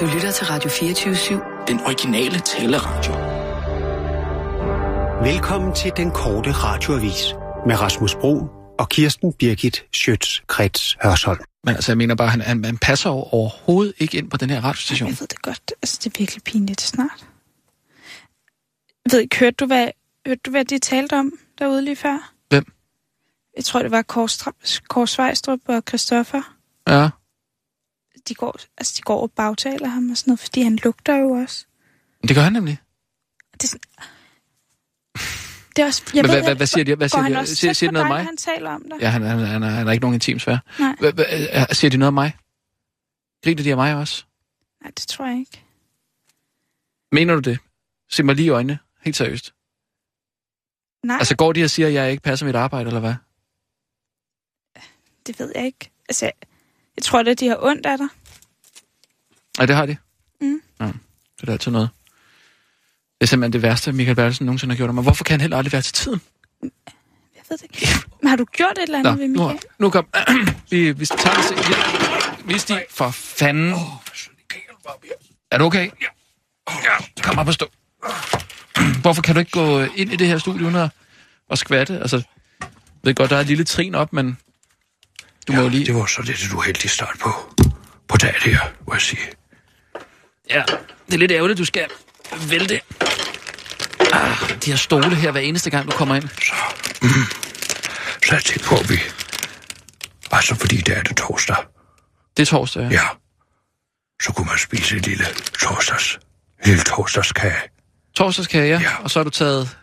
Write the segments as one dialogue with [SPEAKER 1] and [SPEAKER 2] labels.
[SPEAKER 1] Du lytter til Radio 24-7.
[SPEAKER 2] Den originale taleradio.
[SPEAKER 3] Velkommen til den korte radioavis med Rasmus Bro og Kirsten Birgit Schøtz-Krets Hørsholm.
[SPEAKER 4] Men altså, jeg mener bare, han, han, han passer jo overhovedet ikke ind på den her radiostation.
[SPEAKER 5] Jeg ved det godt. Altså, det er virkelig pinligt snart. Jeg ved ikke, hørte du, hvad, hørte du, hvad de talte om derude lige før?
[SPEAKER 4] Hvem?
[SPEAKER 5] Jeg tror, det var Kors Svejstrup og Christoffer.
[SPEAKER 4] Ja.
[SPEAKER 5] De går, altså, de går og bagtaler ham og sådan noget, fordi han lugter jo også.
[SPEAKER 4] Det gør han nemlig.
[SPEAKER 5] Det er, sådan... det er også... Jeg
[SPEAKER 4] Men
[SPEAKER 5] ved
[SPEAKER 4] hvad, hvad,
[SPEAKER 5] ikke,
[SPEAKER 4] hvad siger de? Hvad
[SPEAKER 5] går
[SPEAKER 4] siger
[SPEAKER 5] han
[SPEAKER 4] de?
[SPEAKER 5] også
[SPEAKER 4] Siger,
[SPEAKER 5] tæt
[SPEAKER 4] siger de
[SPEAKER 5] på
[SPEAKER 4] noget om
[SPEAKER 5] dig,
[SPEAKER 4] mig?
[SPEAKER 5] når han taler om dig?
[SPEAKER 4] Ja, han, han, han, er, han er ikke nogen intim sfære.
[SPEAKER 5] Nej.
[SPEAKER 4] Hva- hva- øh, Siger de noget om mig? Griner de af mig også?
[SPEAKER 5] Nej, det tror jeg ikke.
[SPEAKER 4] Mener du det? Se mig lige i øjnene. Helt seriøst.
[SPEAKER 5] Nej,
[SPEAKER 4] Altså,
[SPEAKER 5] altså...
[SPEAKER 4] går de og siger, at jeg ikke passer mit arbejde, eller hvad?
[SPEAKER 5] det ved jeg ikke. Altså, jeg, jeg tror da, de har ondt af dig.
[SPEAKER 4] Ja, det har de.
[SPEAKER 5] Mm.
[SPEAKER 4] Ja, det er da altid noget. Det er simpelthen det værste, Michael Bertelsen nogensinde har gjort. Men hvorfor kan han heller aldrig være til tiden?
[SPEAKER 5] Jeg ved det ikke. Men har du gjort et eller andet Nå, ved
[SPEAKER 4] nu,
[SPEAKER 5] Michael?
[SPEAKER 4] nu kom... vi, vi tager os... Vi, vi stiger for fanden. Er du okay? Ja. Kom op og stå. Hvorfor kan du ikke gå øh, ind i det her studie uden at, at skvatte? Altså, jeg ved godt, der er et lille trin op, men du ja, må jo lige...
[SPEAKER 6] Det var så lidt et uheldigt start på, på dagen her, må jeg sige.
[SPEAKER 4] Ja, det er lidt ærgerligt, du skal vælte. Ah, de her stole her, hver eneste gang, du kommer ind.
[SPEAKER 6] Så jeg tænkte på, at vi... Altså, fordi det er det torsdag.
[SPEAKER 4] Det er torsdag, ja.
[SPEAKER 6] Ja. Så kunne man spise en lille torsdags... Lille torsdagskage.
[SPEAKER 4] Torsdagskage, ja.
[SPEAKER 6] Ja.
[SPEAKER 4] Og så har du taget...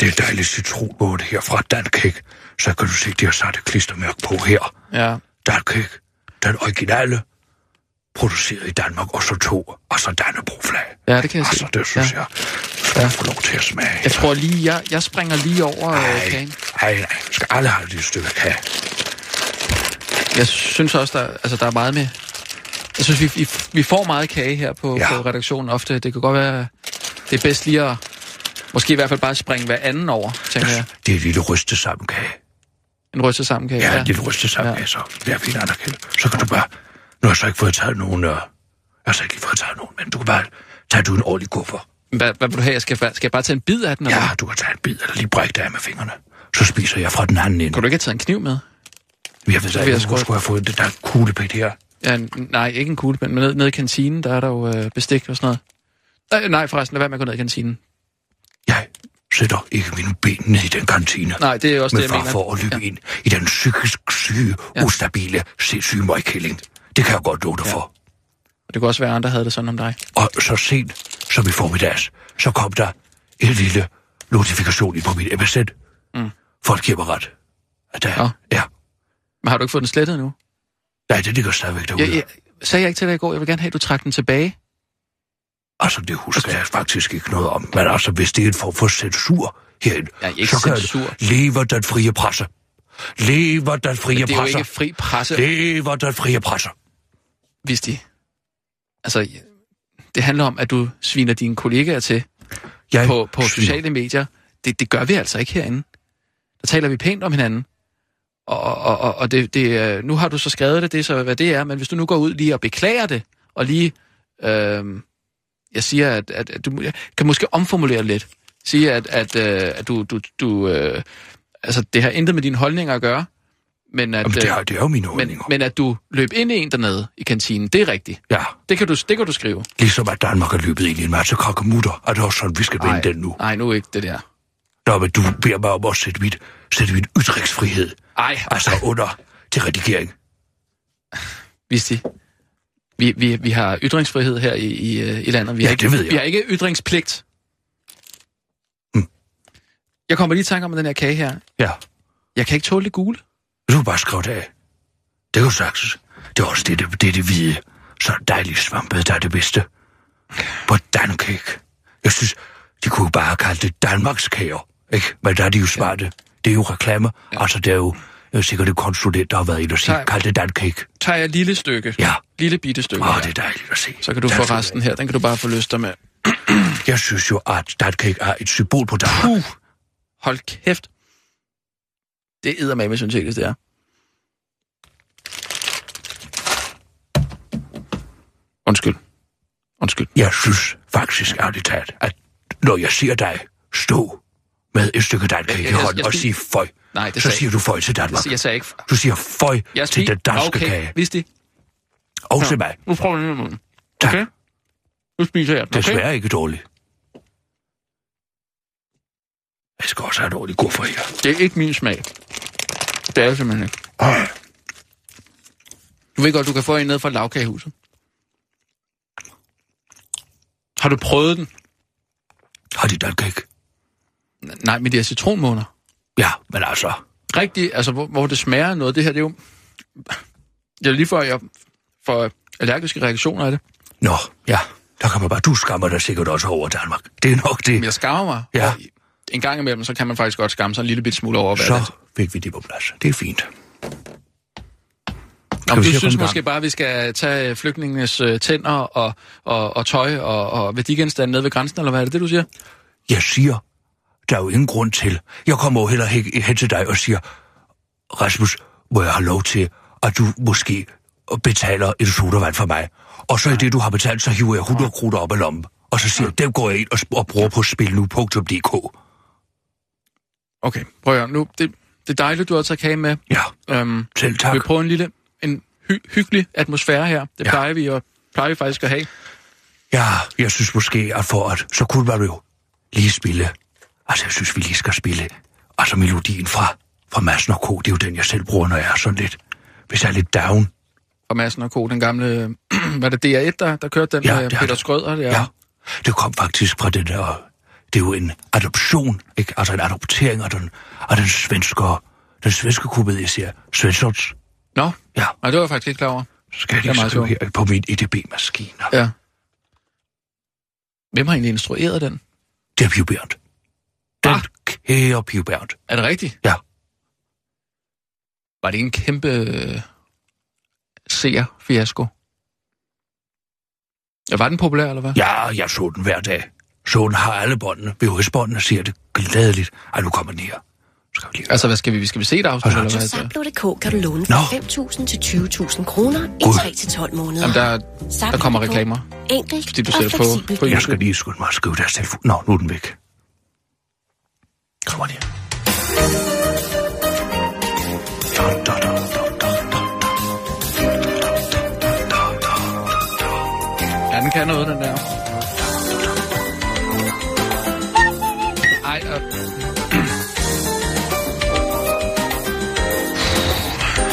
[SPEAKER 6] Det er en dejlig citronmåne her fra Dankæk. Så kan du se, de har sat et klistermærke på her.
[SPEAKER 4] Ja,
[SPEAKER 6] Dankæk. Den originale. Produceret i Danmark, og så to. Og så Dannebro-flag.
[SPEAKER 4] ja det kan jeg se.
[SPEAKER 6] Altså, det synes
[SPEAKER 4] ja.
[SPEAKER 6] ja. jeg. Skal ja. få lov til at smage.
[SPEAKER 4] Jeg tror lige, jeg, jeg springer lige over øh,
[SPEAKER 6] Nej,
[SPEAKER 4] kagen.
[SPEAKER 6] nej, nej. Skal alle have det stykke kage?
[SPEAKER 4] Jeg synes også, der, altså, der er meget med... Jeg synes, vi, vi, vi får meget kage her på, ja.
[SPEAKER 6] Ja.
[SPEAKER 4] på redaktionen ofte. Det kan godt være, det er bedst lige at... Måske i hvert fald bare springe hver anden over, tænker jeg.
[SPEAKER 6] Det er en lille rystet sammenkage.
[SPEAKER 4] En rystet sammen kage.
[SPEAKER 6] Ja, ja. en lille rystet sammenkage, ja. så det er fint anerkendt. Så kan du bare... Nu har jeg så ikke fået taget nogen... Øh... Jeg har så ikke lige fået taget nogen, men du kan bare... Tage du en ordentlig kuffer.
[SPEAKER 4] Hvad, hvad vil du have? Jeg skal, skal jeg bare tage en bid af den? eller
[SPEAKER 6] Ja,
[SPEAKER 4] hvad?
[SPEAKER 6] du kan tage en bid, eller lige brække dig af med fingrene. Så spiser jeg fra den anden ende.
[SPEAKER 4] Kunne du ikke have taget en kniv med?
[SPEAKER 6] Jeg ved da
[SPEAKER 4] vil jeg
[SPEAKER 6] ikke,
[SPEAKER 4] sgu-
[SPEAKER 6] hvor skulle jeg have fået det der kuglepind her.
[SPEAKER 4] Ja, n- nej, ikke en kuglepen, men nede, nede i kantinen, der er der jo øh, bestik og sådan noget. Øh, nej, forresten, lad være med at gå ned i kantinen.
[SPEAKER 6] Jeg sætter ikke mine ben ned i den kantine.
[SPEAKER 4] Nej, det er også
[SPEAKER 6] med
[SPEAKER 4] det, jeg
[SPEAKER 6] far
[SPEAKER 4] mener.
[SPEAKER 6] for at løbe ja. ind i den psykisk syge,
[SPEAKER 4] Ja.
[SPEAKER 6] ja. ustabile, sindssyge møgkælling. Det kan jeg godt love dig ja. for.
[SPEAKER 4] Og det kunne også være, at andre havde det sådan om dig.
[SPEAKER 6] Og så sent som i formiddags, så kom der en lille notifikation ind på min MSN.
[SPEAKER 4] Mm.
[SPEAKER 6] Mm. Folk giver mig ret. At der,
[SPEAKER 4] Nå.
[SPEAKER 6] ja. ja.
[SPEAKER 4] Men har du ikke fået den slettet endnu?
[SPEAKER 6] Nej, det ligger stadigvæk derude.
[SPEAKER 4] Jeg, jeg, sagde jeg ikke til dig i går, jeg vil gerne have, at du trak den tilbage?
[SPEAKER 6] Altså, det husker jeg faktisk ikke noget om. Men altså, hvis det er en form for censur herinde,
[SPEAKER 4] Ja, ikke
[SPEAKER 6] så kan
[SPEAKER 4] censur.
[SPEAKER 6] det. Lever den frie presse. Lever den frie
[SPEAKER 4] det er jo
[SPEAKER 6] presse.
[SPEAKER 4] ikke fri presse, det...
[SPEAKER 6] Lever den frie presse.
[SPEAKER 4] hvis de... Altså, det handler om, at du sviner dine kollegaer til
[SPEAKER 6] Jeg
[SPEAKER 4] på, på
[SPEAKER 6] sviner.
[SPEAKER 4] sociale medier. Det, det gør vi altså ikke herinde. Der taler vi pænt om hinanden. Og, og, og, og det, det, er- nu har du så skrevet det, det er så hvad det er, men hvis du nu går ud lige og beklager det, og lige, øh, jeg siger, at, at, at du må- jeg kan måske omformulere det lidt, sige, at, at, øh, at du, du, du øh, altså det har intet med dine holdninger at gøre, men at,
[SPEAKER 6] Jamen, det,
[SPEAKER 4] øh,
[SPEAKER 6] er, det er jo mine
[SPEAKER 4] men,
[SPEAKER 6] holdninger. Men,
[SPEAKER 4] men at du løb ind i en dernede i kantinen, det er rigtigt.
[SPEAKER 6] men... Ja,
[SPEAKER 4] Det kan du, det kan du skrive.
[SPEAKER 6] ligesom at Danmark er løbet ind i en masse krakamutter, og det er også sådan, vi skal
[SPEAKER 4] Nej,
[SPEAKER 6] vende den nu.
[SPEAKER 4] nej, nu ikke det der.
[SPEAKER 6] Nå, men du beder mig om at sætte mit, sætte mit ytringsfrihed,
[SPEAKER 4] Ej,
[SPEAKER 6] altså under til redigering.
[SPEAKER 4] Visti. Vi, vi, vi har ytringsfrihed her i, i, øh, i landet. Vi har
[SPEAKER 6] Ja,
[SPEAKER 4] ikke,
[SPEAKER 6] det ved jeg.
[SPEAKER 4] Vi har ikke ytringspligt.
[SPEAKER 6] Mm.
[SPEAKER 4] Jeg kommer lige i tanke om den her kage her.
[SPEAKER 6] Ja.
[SPEAKER 4] Jeg kan ikke tåle det gule.
[SPEAKER 6] Du kan bare skrive det af. Det kan du sagtens. Det er også det, det, det, det hvide. Så dejligt svampet, der er det bedste. På Dankæk. Jeg synes, de kunne jo bare have kaldt det Danmarks kager, ikke? Men der er de jo smarte. Det er jo reklame. Ja. Altså, det er jo øh, sikkert et konsulent, der har været inde og
[SPEAKER 4] Nej.
[SPEAKER 6] sige, kald det Dankæk.
[SPEAKER 4] Tager jeg et lille stykke.
[SPEAKER 6] Ja.
[SPEAKER 4] Lille bitte stykke. her.
[SPEAKER 6] Åh, det er altså- dejligt at se.
[SPEAKER 4] Så kan du
[SPEAKER 6] Der
[SPEAKER 4] få
[SPEAKER 6] skal-
[SPEAKER 4] resten her. Den kan du bare få lyst til med.
[SPEAKER 6] Jeg synes jo, at Dankæk er et symbol på Danmark.
[SPEAKER 4] Puh. Hold kæft. Det æder med, synes jeg, det er. Undskyld. Undskyld.
[SPEAKER 6] Jeg synes faktisk, ærligt talt, at når jeg siger dig, stå med et stykke
[SPEAKER 4] Jeg-
[SPEAKER 6] dankage i
[SPEAKER 4] jeg- jeg-
[SPEAKER 6] hånden
[SPEAKER 4] jeg
[SPEAKER 6] og
[SPEAKER 4] spis-
[SPEAKER 6] sige føj,
[SPEAKER 4] Nej, det
[SPEAKER 6] så
[SPEAKER 4] sagde-
[SPEAKER 6] siger du føj til Danmark.
[SPEAKER 4] Jeg, jeg sagde ikke...
[SPEAKER 6] Du siger føj
[SPEAKER 4] Jeg
[SPEAKER 6] til den danske
[SPEAKER 4] okay,
[SPEAKER 6] kage.
[SPEAKER 4] Vidste I?
[SPEAKER 6] Og til mig.
[SPEAKER 4] Nu prøver jeg den
[SPEAKER 6] Tak.
[SPEAKER 4] Okay. Nu spiser jeg den, okay?
[SPEAKER 6] Desværre ikke dårligt. Jeg skal også have en ordentlig god for jer.
[SPEAKER 4] Det er ikke min smag. Det er det simpelthen ikke. Du ved godt, du kan få en ned fra lavkagehuset. Har du prøvet den?
[SPEAKER 6] Har de dankage?
[SPEAKER 4] N- Nej, men det er citronmåner.
[SPEAKER 6] Ja, men altså,
[SPEAKER 4] Rigtig, altså hvor, hvor det smager af noget. Det her, det er jo... Det er lige før, jeg får allergiske reaktioner af det.
[SPEAKER 6] Nå, ja. Der kan man bare, du skammer dig sikkert også over Danmark. Det er nok
[SPEAKER 4] Men
[SPEAKER 6] det.
[SPEAKER 4] jeg skammer mig.
[SPEAKER 6] Ja.
[SPEAKER 4] Og En gang imellem, så kan man faktisk godt skamme sig en lille bit smule over, hvad det
[SPEAKER 6] Så fik vi det på plads. Det er fint.
[SPEAKER 4] Nå,
[SPEAKER 6] vi
[SPEAKER 4] men
[SPEAKER 6] se
[SPEAKER 4] du
[SPEAKER 6] at komme
[SPEAKER 4] synes
[SPEAKER 6] i gang?
[SPEAKER 4] måske bare, at vi skal tage flygtningenes øh, tænder og, og, og tøj og, og værdigenstande ned ved grænsen, eller hvad er det, det du siger?
[SPEAKER 6] Jeg siger, der er jo ingen grund til. Jeg kommer jo heller ikke hen til dig og siger, Rasmus, må jeg have lov til, at du måske betaler en sodavand for mig. Og så i det, du har betalt, så hiver jeg 100 kroner op af lommen. Og så siger jeg, dem går jeg ind og, sp- og bruger på spilnu.dk.
[SPEAKER 4] Okay, prøv at høre. Nu, det, det er dejligt, du har taget kage med.
[SPEAKER 6] Ja,
[SPEAKER 4] Øhm,
[SPEAKER 6] selv tak.
[SPEAKER 4] vi prøver en lille, en hy- hyggelig atmosfære her. Det
[SPEAKER 6] Ja.
[SPEAKER 4] ja. plejer vi og plejer vi faktisk at have.
[SPEAKER 6] Ja, jeg synes måske, at for at, så kunne man jo lige spille. Altså, jeg synes, vi lige skal spille. Altså, melodien fra, fra Madsen og Co., det er jo den, jeg selv bruger, når jeg er sådan lidt, hvis jeg er lidt down.
[SPEAKER 4] Og Madsen og Co., den gamle, var det DR1, der, der kørte den
[SPEAKER 6] Ja,
[SPEAKER 4] ja, med
[SPEAKER 6] det er
[SPEAKER 4] Peter
[SPEAKER 6] det.
[SPEAKER 4] Skrøder? Der.
[SPEAKER 6] Ja. Det kom faktisk fra den der... Det er jo en adoption, ikke? Altså en adoptering af den, af den svenske... Den svenske komedieserie Svenssons.
[SPEAKER 4] Nå,
[SPEAKER 6] Ja.
[SPEAKER 4] Nej, det var jeg faktisk ikke klar over.
[SPEAKER 6] Skal jeg
[SPEAKER 4] Det er
[SPEAKER 6] lige
[SPEAKER 4] meget
[SPEAKER 6] skrive
[SPEAKER 4] sjovt.
[SPEAKER 6] her på min EDB-maskine? Ja.
[SPEAKER 4] Ja. Hvem har egentlig instrueret den?
[SPEAKER 6] Det er Pio Berndt. Den
[SPEAKER 4] Ah.
[SPEAKER 6] ah. kære Pio Berndt.
[SPEAKER 4] Er det rigtigt?
[SPEAKER 6] Ja.
[SPEAKER 4] Var det en kæmpe øh, seer-fiasko? Ja, var den populær, eller hvad?
[SPEAKER 6] Ja, jeg så den hver dag. Så den har alle båndene. VHS-båndene siger det glædeligt. Ej, nu kommer den her. Skal vi lige...
[SPEAKER 4] Altså, hvad skal vi? Vi skal vi se et afsnit,
[SPEAKER 6] Altså,
[SPEAKER 4] eller hvad?
[SPEAKER 7] Sablo.dk kan du låne fra
[SPEAKER 6] Nå.
[SPEAKER 7] 5.000 til 20.000 kroner i
[SPEAKER 6] Gud.
[SPEAKER 7] 3-12 måneder.
[SPEAKER 4] Jamen, der,
[SPEAKER 7] Sablo.dk.
[SPEAKER 4] der kommer reklamer.
[SPEAKER 7] Enkelt
[SPEAKER 4] fordi du
[SPEAKER 7] og
[SPEAKER 4] sætter på-
[SPEAKER 7] fleksibelt.
[SPEAKER 4] på
[SPEAKER 6] Jeg skal lige skynde mig at skrive deres telefon. Nå, nu er den væk. Kommer her. Da, da, da, da, da, da, da.
[SPEAKER 4] Ja, den kan noget, den der. Ej, og...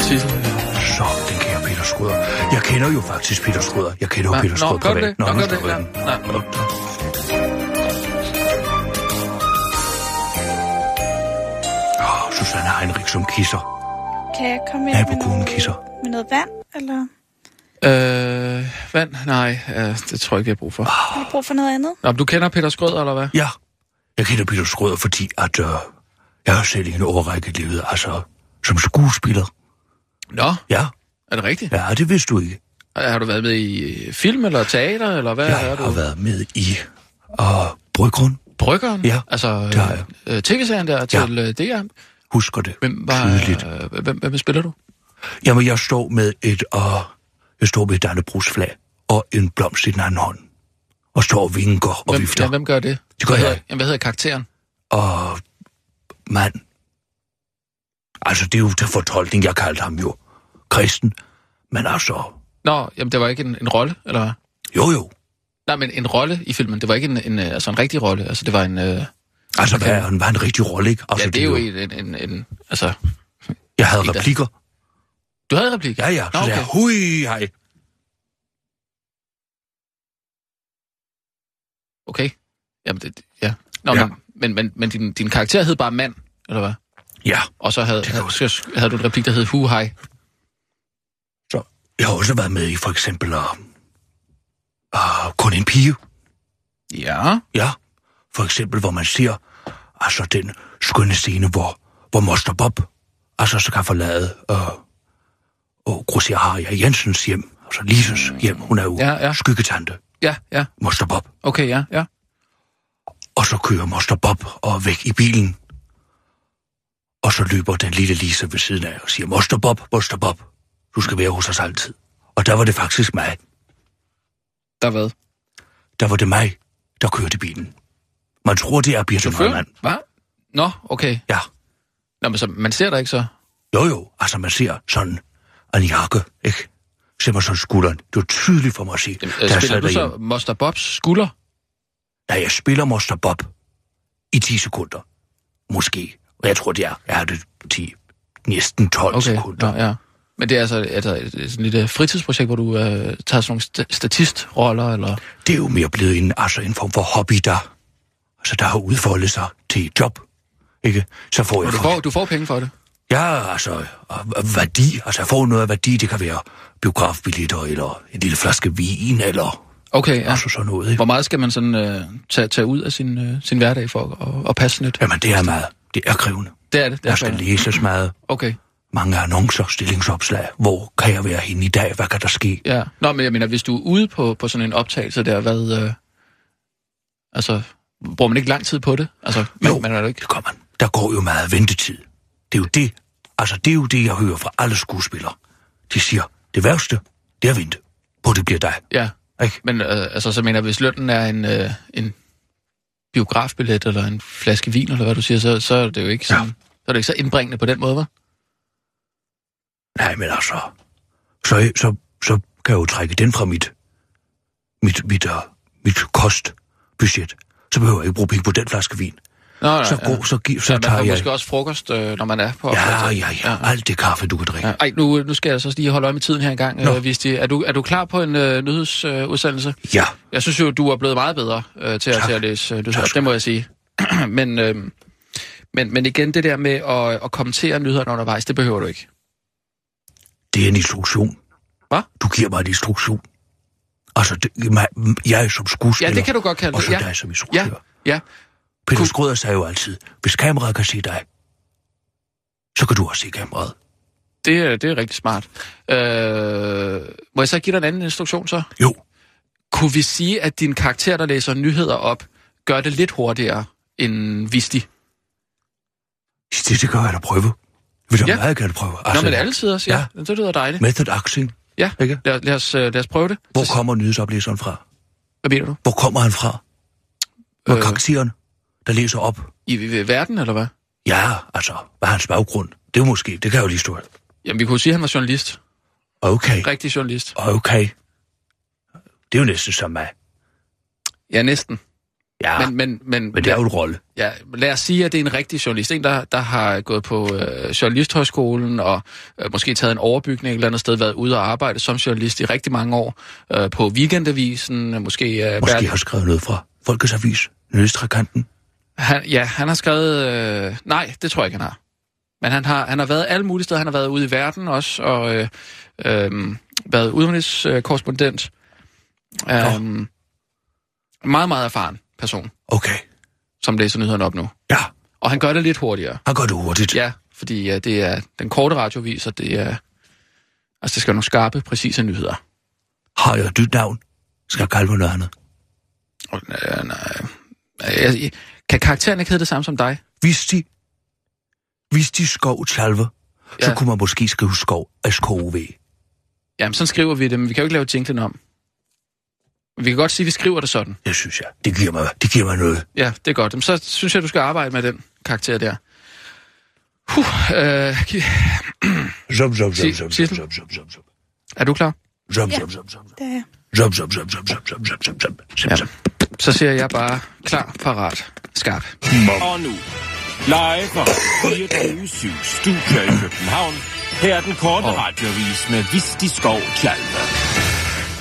[SPEAKER 4] Sissel.
[SPEAKER 6] Så, den kære Peter Skrøder. Jeg kender jo faktisk Peter Skrøder. Jeg kender jo
[SPEAKER 4] Nå,
[SPEAKER 6] Peter
[SPEAKER 4] nå,
[SPEAKER 6] Skrøder
[SPEAKER 4] gør du det?
[SPEAKER 6] privat.
[SPEAKER 4] Nå,
[SPEAKER 6] nu
[SPEAKER 4] gør du
[SPEAKER 6] stopper
[SPEAKER 4] det?
[SPEAKER 6] jeg den.
[SPEAKER 4] Ja, nej.
[SPEAKER 6] Nå, nå. Åh, Ah, Susanne Heinrich som kisser.
[SPEAKER 5] Kan jeg komme ind med
[SPEAKER 6] Nabokonen
[SPEAKER 5] noget,
[SPEAKER 6] kisser.
[SPEAKER 5] med noget vand, eller
[SPEAKER 4] Øh, vand? Nej, øh, det tror jeg ikke, jeg har brug for.
[SPEAKER 5] har du brug for noget andet?
[SPEAKER 4] Nå, men du kender Peter Skrød, eller hvad?
[SPEAKER 6] Ja, jeg kender Peter Skrøder, fordi at, øh, jeg har selv i en overrække levet, altså som skuespiller.
[SPEAKER 4] Nå,
[SPEAKER 6] Ja,
[SPEAKER 4] er det rigtigt?
[SPEAKER 6] ja, det vidste du ikke.
[SPEAKER 4] Har du været med i øh, film eller teater, eller hvad
[SPEAKER 6] Jeg
[SPEAKER 4] er du?
[SPEAKER 6] har været med i og Bryggrund,
[SPEAKER 4] Bryggeren?
[SPEAKER 6] Ja,
[SPEAKER 4] Altså,
[SPEAKER 6] det har jeg.
[SPEAKER 4] øh, øh, tv-serien der til øh, DR.
[SPEAKER 6] husker det
[SPEAKER 4] Hvem, var,
[SPEAKER 6] tydeligt.
[SPEAKER 4] øh, hvem, hvem spiller du?
[SPEAKER 6] Jamen, jeg står med et, og jeg står med et dannebrugsflag og en blomst i den anden hånd. Og står og vinker og
[SPEAKER 4] Hvem,
[SPEAKER 6] vifter.
[SPEAKER 4] ja, hvem gør det?
[SPEAKER 6] Det gør
[SPEAKER 4] Hvad
[SPEAKER 6] jeg.
[SPEAKER 4] hedder- Jamen, hvad hedder karakteren?
[SPEAKER 6] Og mand. Altså, det er jo til fortolkning, jeg kaldte ham jo. Kristen. Men altså,
[SPEAKER 4] Nå, jamen, det var ikke en, en rolle, eller hvad?
[SPEAKER 6] jo jo.
[SPEAKER 4] Nej, men en rolle i filmen. Det var ikke en, en, øh, altså en rigtig rolle. Altså, det var en... Øh, ja,
[SPEAKER 6] Altså, hvad er han? Var han en rigtig rolle, ikke? Altså,
[SPEAKER 4] det er jo en, en, en, en... Altså,
[SPEAKER 6] Jeg havde
[SPEAKER 4] en, der-
[SPEAKER 6] replikker.
[SPEAKER 4] du havde replik?
[SPEAKER 6] Ja, ja. Så
[SPEAKER 4] Nå,
[SPEAKER 6] sagde
[SPEAKER 4] okay.
[SPEAKER 6] jeg, hui, hej.
[SPEAKER 4] Okay. Jamen, det, ja. Nå,
[SPEAKER 6] Ja.
[SPEAKER 4] ja. Men, men, men, men din, din karakter hed bare mand, eller hvad?
[SPEAKER 6] Ja.
[SPEAKER 4] Og så havde,
[SPEAKER 6] Det kan
[SPEAKER 4] havde,
[SPEAKER 6] jeg
[SPEAKER 4] så havde du en replik, der hed Hu Hej.
[SPEAKER 6] Så jeg har også været med i for eksempel uh, uh, Kun en pige.
[SPEAKER 4] Ja.
[SPEAKER 6] Ja. For eksempel, hvor man ser altså den skønne scene, hvor, hvor Moster Bob altså så kan forlade uh, og Grosser Harja Jensens hjem. Altså Lises hjem. Hun er jo
[SPEAKER 4] Ja, ja.
[SPEAKER 6] skyggetante.
[SPEAKER 4] Ja, ja.
[SPEAKER 6] Moster Bob.
[SPEAKER 4] Okay, ja, ja.
[SPEAKER 6] Og så kører Moster Bob og væk i bilen. Og så løber den lille Lise ved siden af og siger, Moster Bob, Moster Bob, du skal være hos os altid. Og der var det faktisk mig.
[SPEAKER 4] Der hvad?
[SPEAKER 6] der var det mig, der kørte bilen. Man tror, det er Birte Neumann.
[SPEAKER 4] Hvad? Nå, okay.
[SPEAKER 6] Ja,
[SPEAKER 4] Nå, men så, man ser dig ikke så.
[SPEAKER 6] jo jo, altså man ser sådan en jakke, ikke? Ser man sådan skulderen. Det er tydeligt for mig at se.
[SPEAKER 4] Jamen,
[SPEAKER 6] da
[SPEAKER 4] øh,
[SPEAKER 6] jeg
[SPEAKER 4] spiller
[SPEAKER 6] sad
[SPEAKER 4] du så
[SPEAKER 6] derhjemme.
[SPEAKER 4] Moster Bobs skulder?
[SPEAKER 6] Ja, jeg spiller Moster Bob i 10 sekunder. Måske. Og jeg tror, det er, ja, det er 10, næsten 12
[SPEAKER 4] Okay,
[SPEAKER 6] sekunder.
[SPEAKER 4] nå, ja. Men det er altså, altså et, et, et lille fritidsprojekt, hvor du øh, tager sådan nogle sta- statistroller, eller...
[SPEAKER 6] Det er jo mere blevet en, altså en form for hobby, der, altså, der har udfoldet sig til et job. Ikke? Så får
[SPEAKER 4] Og
[SPEAKER 6] jeg...
[SPEAKER 4] du
[SPEAKER 6] for-
[SPEAKER 4] får, du får penge for det.
[SPEAKER 6] Ja, altså, og- og værdi. Altså, jeg får noget af værdi. Det kan være biografbilletter, eller en lille flaske vin, eller
[SPEAKER 4] Okay,
[SPEAKER 6] ja.
[SPEAKER 4] ja.
[SPEAKER 6] altså sådan noget. Ikke?
[SPEAKER 4] Hvor meget skal man sådan øh, tage, tage ud af sin, øh, sin hverdag for at og, og passe lidt?
[SPEAKER 6] Jamen, det er meget. Det er krævende.
[SPEAKER 4] Det er det. det er
[SPEAKER 6] Der skal
[SPEAKER 4] for-
[SPEAKER 6] læses meget.
[SPEAKER 4] Okay,
[SPEAKER 6] Mange annoncer, stillingsopslag. Hvor kan jeg være henne i dag? Hvad kan der ske?
[SPEAKER 4] ja. Nå, men jeg mener, hvis du er ude på, på sådan en optagelse der, hvad... Øh, altså, bruger man ikke lang tid på det? Altså, man,
[SPEAKER 6] Jo.
[SPEAKER 4] man er jo ikke...
[SPEAKER 6] Det gør man. Der går jo meget ventetid. Det er jo det. Altså, det er jo det, jeg hører fra alle skuespillere. De siger, det værste, det er at vente. På det bliver dig.
[SPEAKER 4] Ja,
[SPEAKER 6] Ikke?
[SPEAKER 4] men øh, altså, så mener jeg, hvis lønnen er en, øh, en biografbillet eller en flaske vin, eller hvad du siger, så, så er det jo ikke sådan, ja. så er det ikke så indbringende på den måde, hva'?
[SPEAKER 6] Nej, men altså, så, så, så kan jeg jo trække den fra mit, mit, mit, uh, mit kostbudget. Så behøver jeg ikke bruge penge på den flaske vin.
[SPEAKER 4] Nå, nej,
[SPEAKER 6] Så, god, så, gi- så
[SPEAKER 4] ja, man
[SPEAKER 6] tager
[SPEAKER 4] får
[SPEAKER 6] jeg...
[SPEAKER 4] måske også frokost, øh, når man er på
[SPEAKER 6] Ja,
[SPEAKER 4] opdagelse.
[SPEAKER 6] ja, ja. Alt det kaffe, du kan drikke.
[SPEAKER 4] Ja. Ej, nu, nu skal jeg så også lige holde øje med tiden her engang,
[SPEAKER 6] Nå.
[SPEAKER 4] øh, Visti. Er du, er du klar på en øh, nyhedsudsendelse?
[SPEAKER 6] Ja,
[SPEAKER 4] Jeg synes jo, du er blevet meget bedre øh, til, at,
[SPEAKER 6] Tak.
[SPEAKER 4] til at læse øh, nyheder,
[SPEAKER 6] Tak skal
[SPEAKER 4] det må jeg sige. men, øh, men, men igen, det der med at, at kommentere nyhederne undervejs, det behøver du ikke.
[SPEAKER 6] det er en instruktion.
[SPEAKER 4] Hvad?
[SPEAKER 6] Du giver mig en instruktion. Altså, det, mig- jeg som skuespiller...
[SPEAKER 4] Ja, det kan du godt kalde
[SPEAKER 6] Og
[SPEAKER 4] det.
[SPEAKER 6] så
[SPEAKER 4] Ja,
[SPEAKER 6] dig som
[SPEAKER 4] ja,
[SPEAKER 6] instruktør.
[SPEAKER 4] ja.
[SPEAKER 6] Peter
[SPEAKER 4] Kunne-
[SPEAKER 6] Skrøder sagde jo altid, hvis kameraet kan se dig, så kan du også se kameraet.
[SPEAKER 4] Det, er- det er rigtig smart. Øh, må jeg så give dig en anden instruktion så?
[SPEAKER 6] Jo,
[SPEAKER 4] Kunne vi sige, at din karakter, der læser nyheder op, gør det lidt hurtigere end Visti?
[SPEAKER 6] det, det kan jeg da prøve. Vil du
[SPEAKER 4] Ja.
[SPEAKER 6] ja. meget gerne prøve? Altså,
[SPEAKER 4] Nå, men altid også, ja. ja. Det lyder dejligt.
[SPEAKER 6] Method acting.
[SPEAKER 4] Ja,
[SPEAKER 6] Ikke?
[SPEAKER 4] lad, lad, os, øh, lad os prøve det.
[SPEAKER 6] Hvor
[SPEAKER 4] Så-
[SPEAKER 6] kommer nyhedsoplæseren fra?
[SPEAKER 4] Hvad mener du?
[SPEAKER 6] Hvor kommer han fra? Hvor
[SPEAKER 4] Øh.
[SPEAKER 6] øh. karakteren, der læser op?
[SPEAKER 4] I, I, i verden, eller hvad?
[SPEAKER 6] Ja, altså, hvad er hans baggrund? Det er jo måske, det kan jeg jo lige stå.
[SPEAKER 4] Jamen, vi kunne sige, at han var journalist.
[SPEAKER 6] Okay,
[SPEAKER 4] Rigtig journalist.
[SPEAKER 6] okay. Det er jo næsten som mig.
[SPEAKER 4] Ja, næsten.
[SPEAKER 6] Ja,
[SPEAKER 4] Men, men, men,
[SPEAKER 6] men det er jo en rolle.
[SPEAKER 4] ja, lad os sige, at det er en rigtig journalist. En, der, der har gået på øh, journalisthøjskolen og øh, måske taget en overbygning et eller andet sted, været ude og arbejde som journalist i rigtig mange år. Øh, på Weekendavisen, øh, måske... Øh,
[SPEAKER 6] Måske
[SPEAKER 4] været-
[SPEAKER 6] har jeg skrevet noget fra Folkets Avis, Nødstrakanten.
[SPEAKER 4] han, ja, han har skrevet... Øh, nej, det tror jeg ikke, han har. Men han har, han har været alle mulige steder. Han har været ude i verden også, og øh, øh, været udenrigskorrespondent. Øh, meget, meget erfaren person,
[SPEAKER 6] Okay,
[SPEAKER 4] som læser nyhederne op nu.
[SPEAKER 6] ja,
[SPEAKER 4] Og han gør det lidt hurtigere.
[SPEAKER 6] han gør det hurtigt.
[SPEAKER 4] Ja, fordi ja, det er den korte radiovis, og det er... Altså, det skal være nogle skarpe, præcise nyheder.
[SPEAKER 6] Har jeg et nyt navn? Skal jeg kalde mig noget andet?
[SPEAKER 4] Og, øh, nej. Øh, jeg- Kan karakteren ikke hedde det samme som dig?
[SPEAKER 6] Hvis de, hvis de skov tjalve, ja. så
[SPEAKER 4] Ja.
[SPEAKER 6] kunne man måske skrive skov af skov
[SPEAKER 4] Jamen, sådan skriver vi det, men vi kan jo ikke lave jinglen om. Men Vi kan godt sige, at vi skriver det sådan.
[SPEAKER 6] Det synes jeg. Det giver mig, det giver mig noget.
[SPEAKER 4] Ja, det er godt. Jamen, så synes jeg, du skal arbejde med den karakter der. Huh, øh, Ki-
[SPEAKER 6] Zop, zop, zop,
[SPEAKER 4] Sig-
[SPEAKER 6] zop,
[SPEAKER 4] Sissel?
[SPEAKER 6] zop, zop, zop, zop, zop.
[SPEAKER 4] er du klar?
[SPEAKER 6] Zop, zop, zop, zop,
[SPEAKER 5] Det er jeg.
[SPEAKER 6] zop, zop, zop, zop, zop, zop, zop, zop, zop, zop,
[SPEAKER 4] Ja.
[SPEAKER 6] zop.
[SPEAKER 4] Så siger jeg bare klar, parat, skarp.
[SPEAKER 8] Og nu, live fra 24 Studio i København. Her er den korte
[SPEAKER 4] Og-
[SPEAKER 8] radiovis med Visti Skov Tjalve.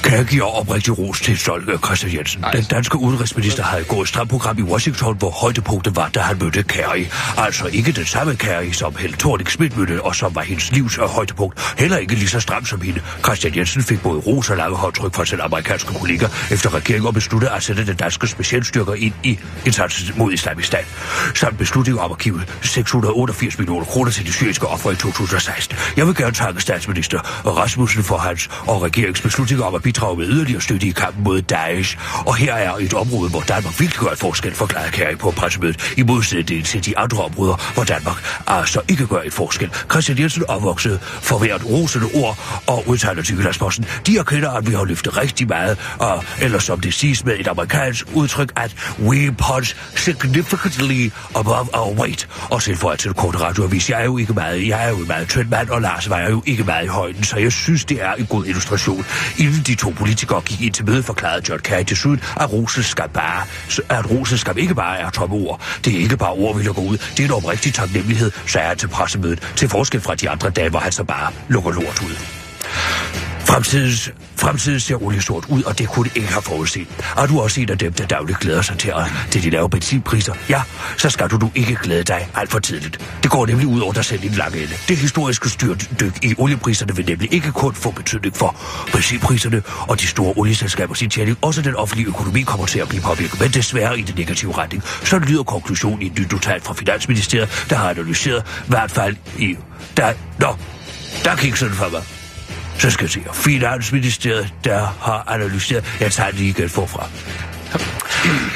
[SPEAKER 6] Kan jeg give oprigtig ros til Solke Christian Jensen?
[SPEAKER 4] Nej.
[SPEAKER 6] Den danske udenrigsminister havde gået et stramt program i Washington, hvor højdepunktet var, da han mødte Kerry. Altså ikke den samme Kerry, som Held Thorning Schmidt mødte, og som var hendes livs højdepunkt. Heller ikke lige så stram som hende. Christian Jensen fik både ros og lange håndtryk fra sin amerikanske kollega, efter regeringen besluttede at sætte den danske specialstyrker ind i indsatsen mod islamisk stat. Samt beslutningen om at give 688 millioner kroner til de syriske ofre i 2016. Jeg vil gerne takke statsminister Rasmussen for hans og regeringens beslutning om at bidrage bidrage med yderligere støtte i kampen mod Daesh, og her er et område, hvor Danmark virkelig gør en forskel, forklarede Kæring på pressemødet, i modsætning til de andre områder, hvor Danmark altså ikke gør en forskel. Christian Jensen opvoksede for hvert rosende ord og udtaler til Jyllandsposten, de erkender, at vi har løftet rigtig meget, og eller som det siges med et amerikansk udtryk, at we punch significantly above our weight. Og tilføjer til kort radioavis, jeg er jo ikke meget, jeg er jo en meget tynd mand, og Lars vejer jo ikke meget i højden, så jeg synes, det er en god illustration. Inden de to politikere gik ind til møde, forklarede John Kerry til syd, at Rosenskab bare, at Rosenskab ikke bare er tomme ord. Det er ikke bare ord, vi lukker ud. Det er en oprigtig taknemmelighed, sagde han til pressemødet, til forskel fra de andre dage, hvor han så bare lukker lort ud. Fremtidens, fremtiden ser oliesort ud, og det kunne det ikke have forudset. Er du også en af dem, der dagligt glæder sig til, at, til de lave benzinpriser? Ja, så skal du nu ikke glæde dig alt for tidligt. Det går nemlig ud over dig selv i den lange ende. Det historiske styrdyk i oliepriserne vil nemlig ikke kun få betydning for benzinpriserne og de store olieselskabers indtjening. Også den offentlige økonomi kommer til at blive påvirket, men desværre i den negative retning. Så lyder konklusionen i et nyt notat fra Finansministeriet, der har analyseret i hvert fald i... Der, nå, der gik sådan for mig. Så skal jeg se. Finansministeriet, der har analyseret... Jeg tager det lige igen forfra.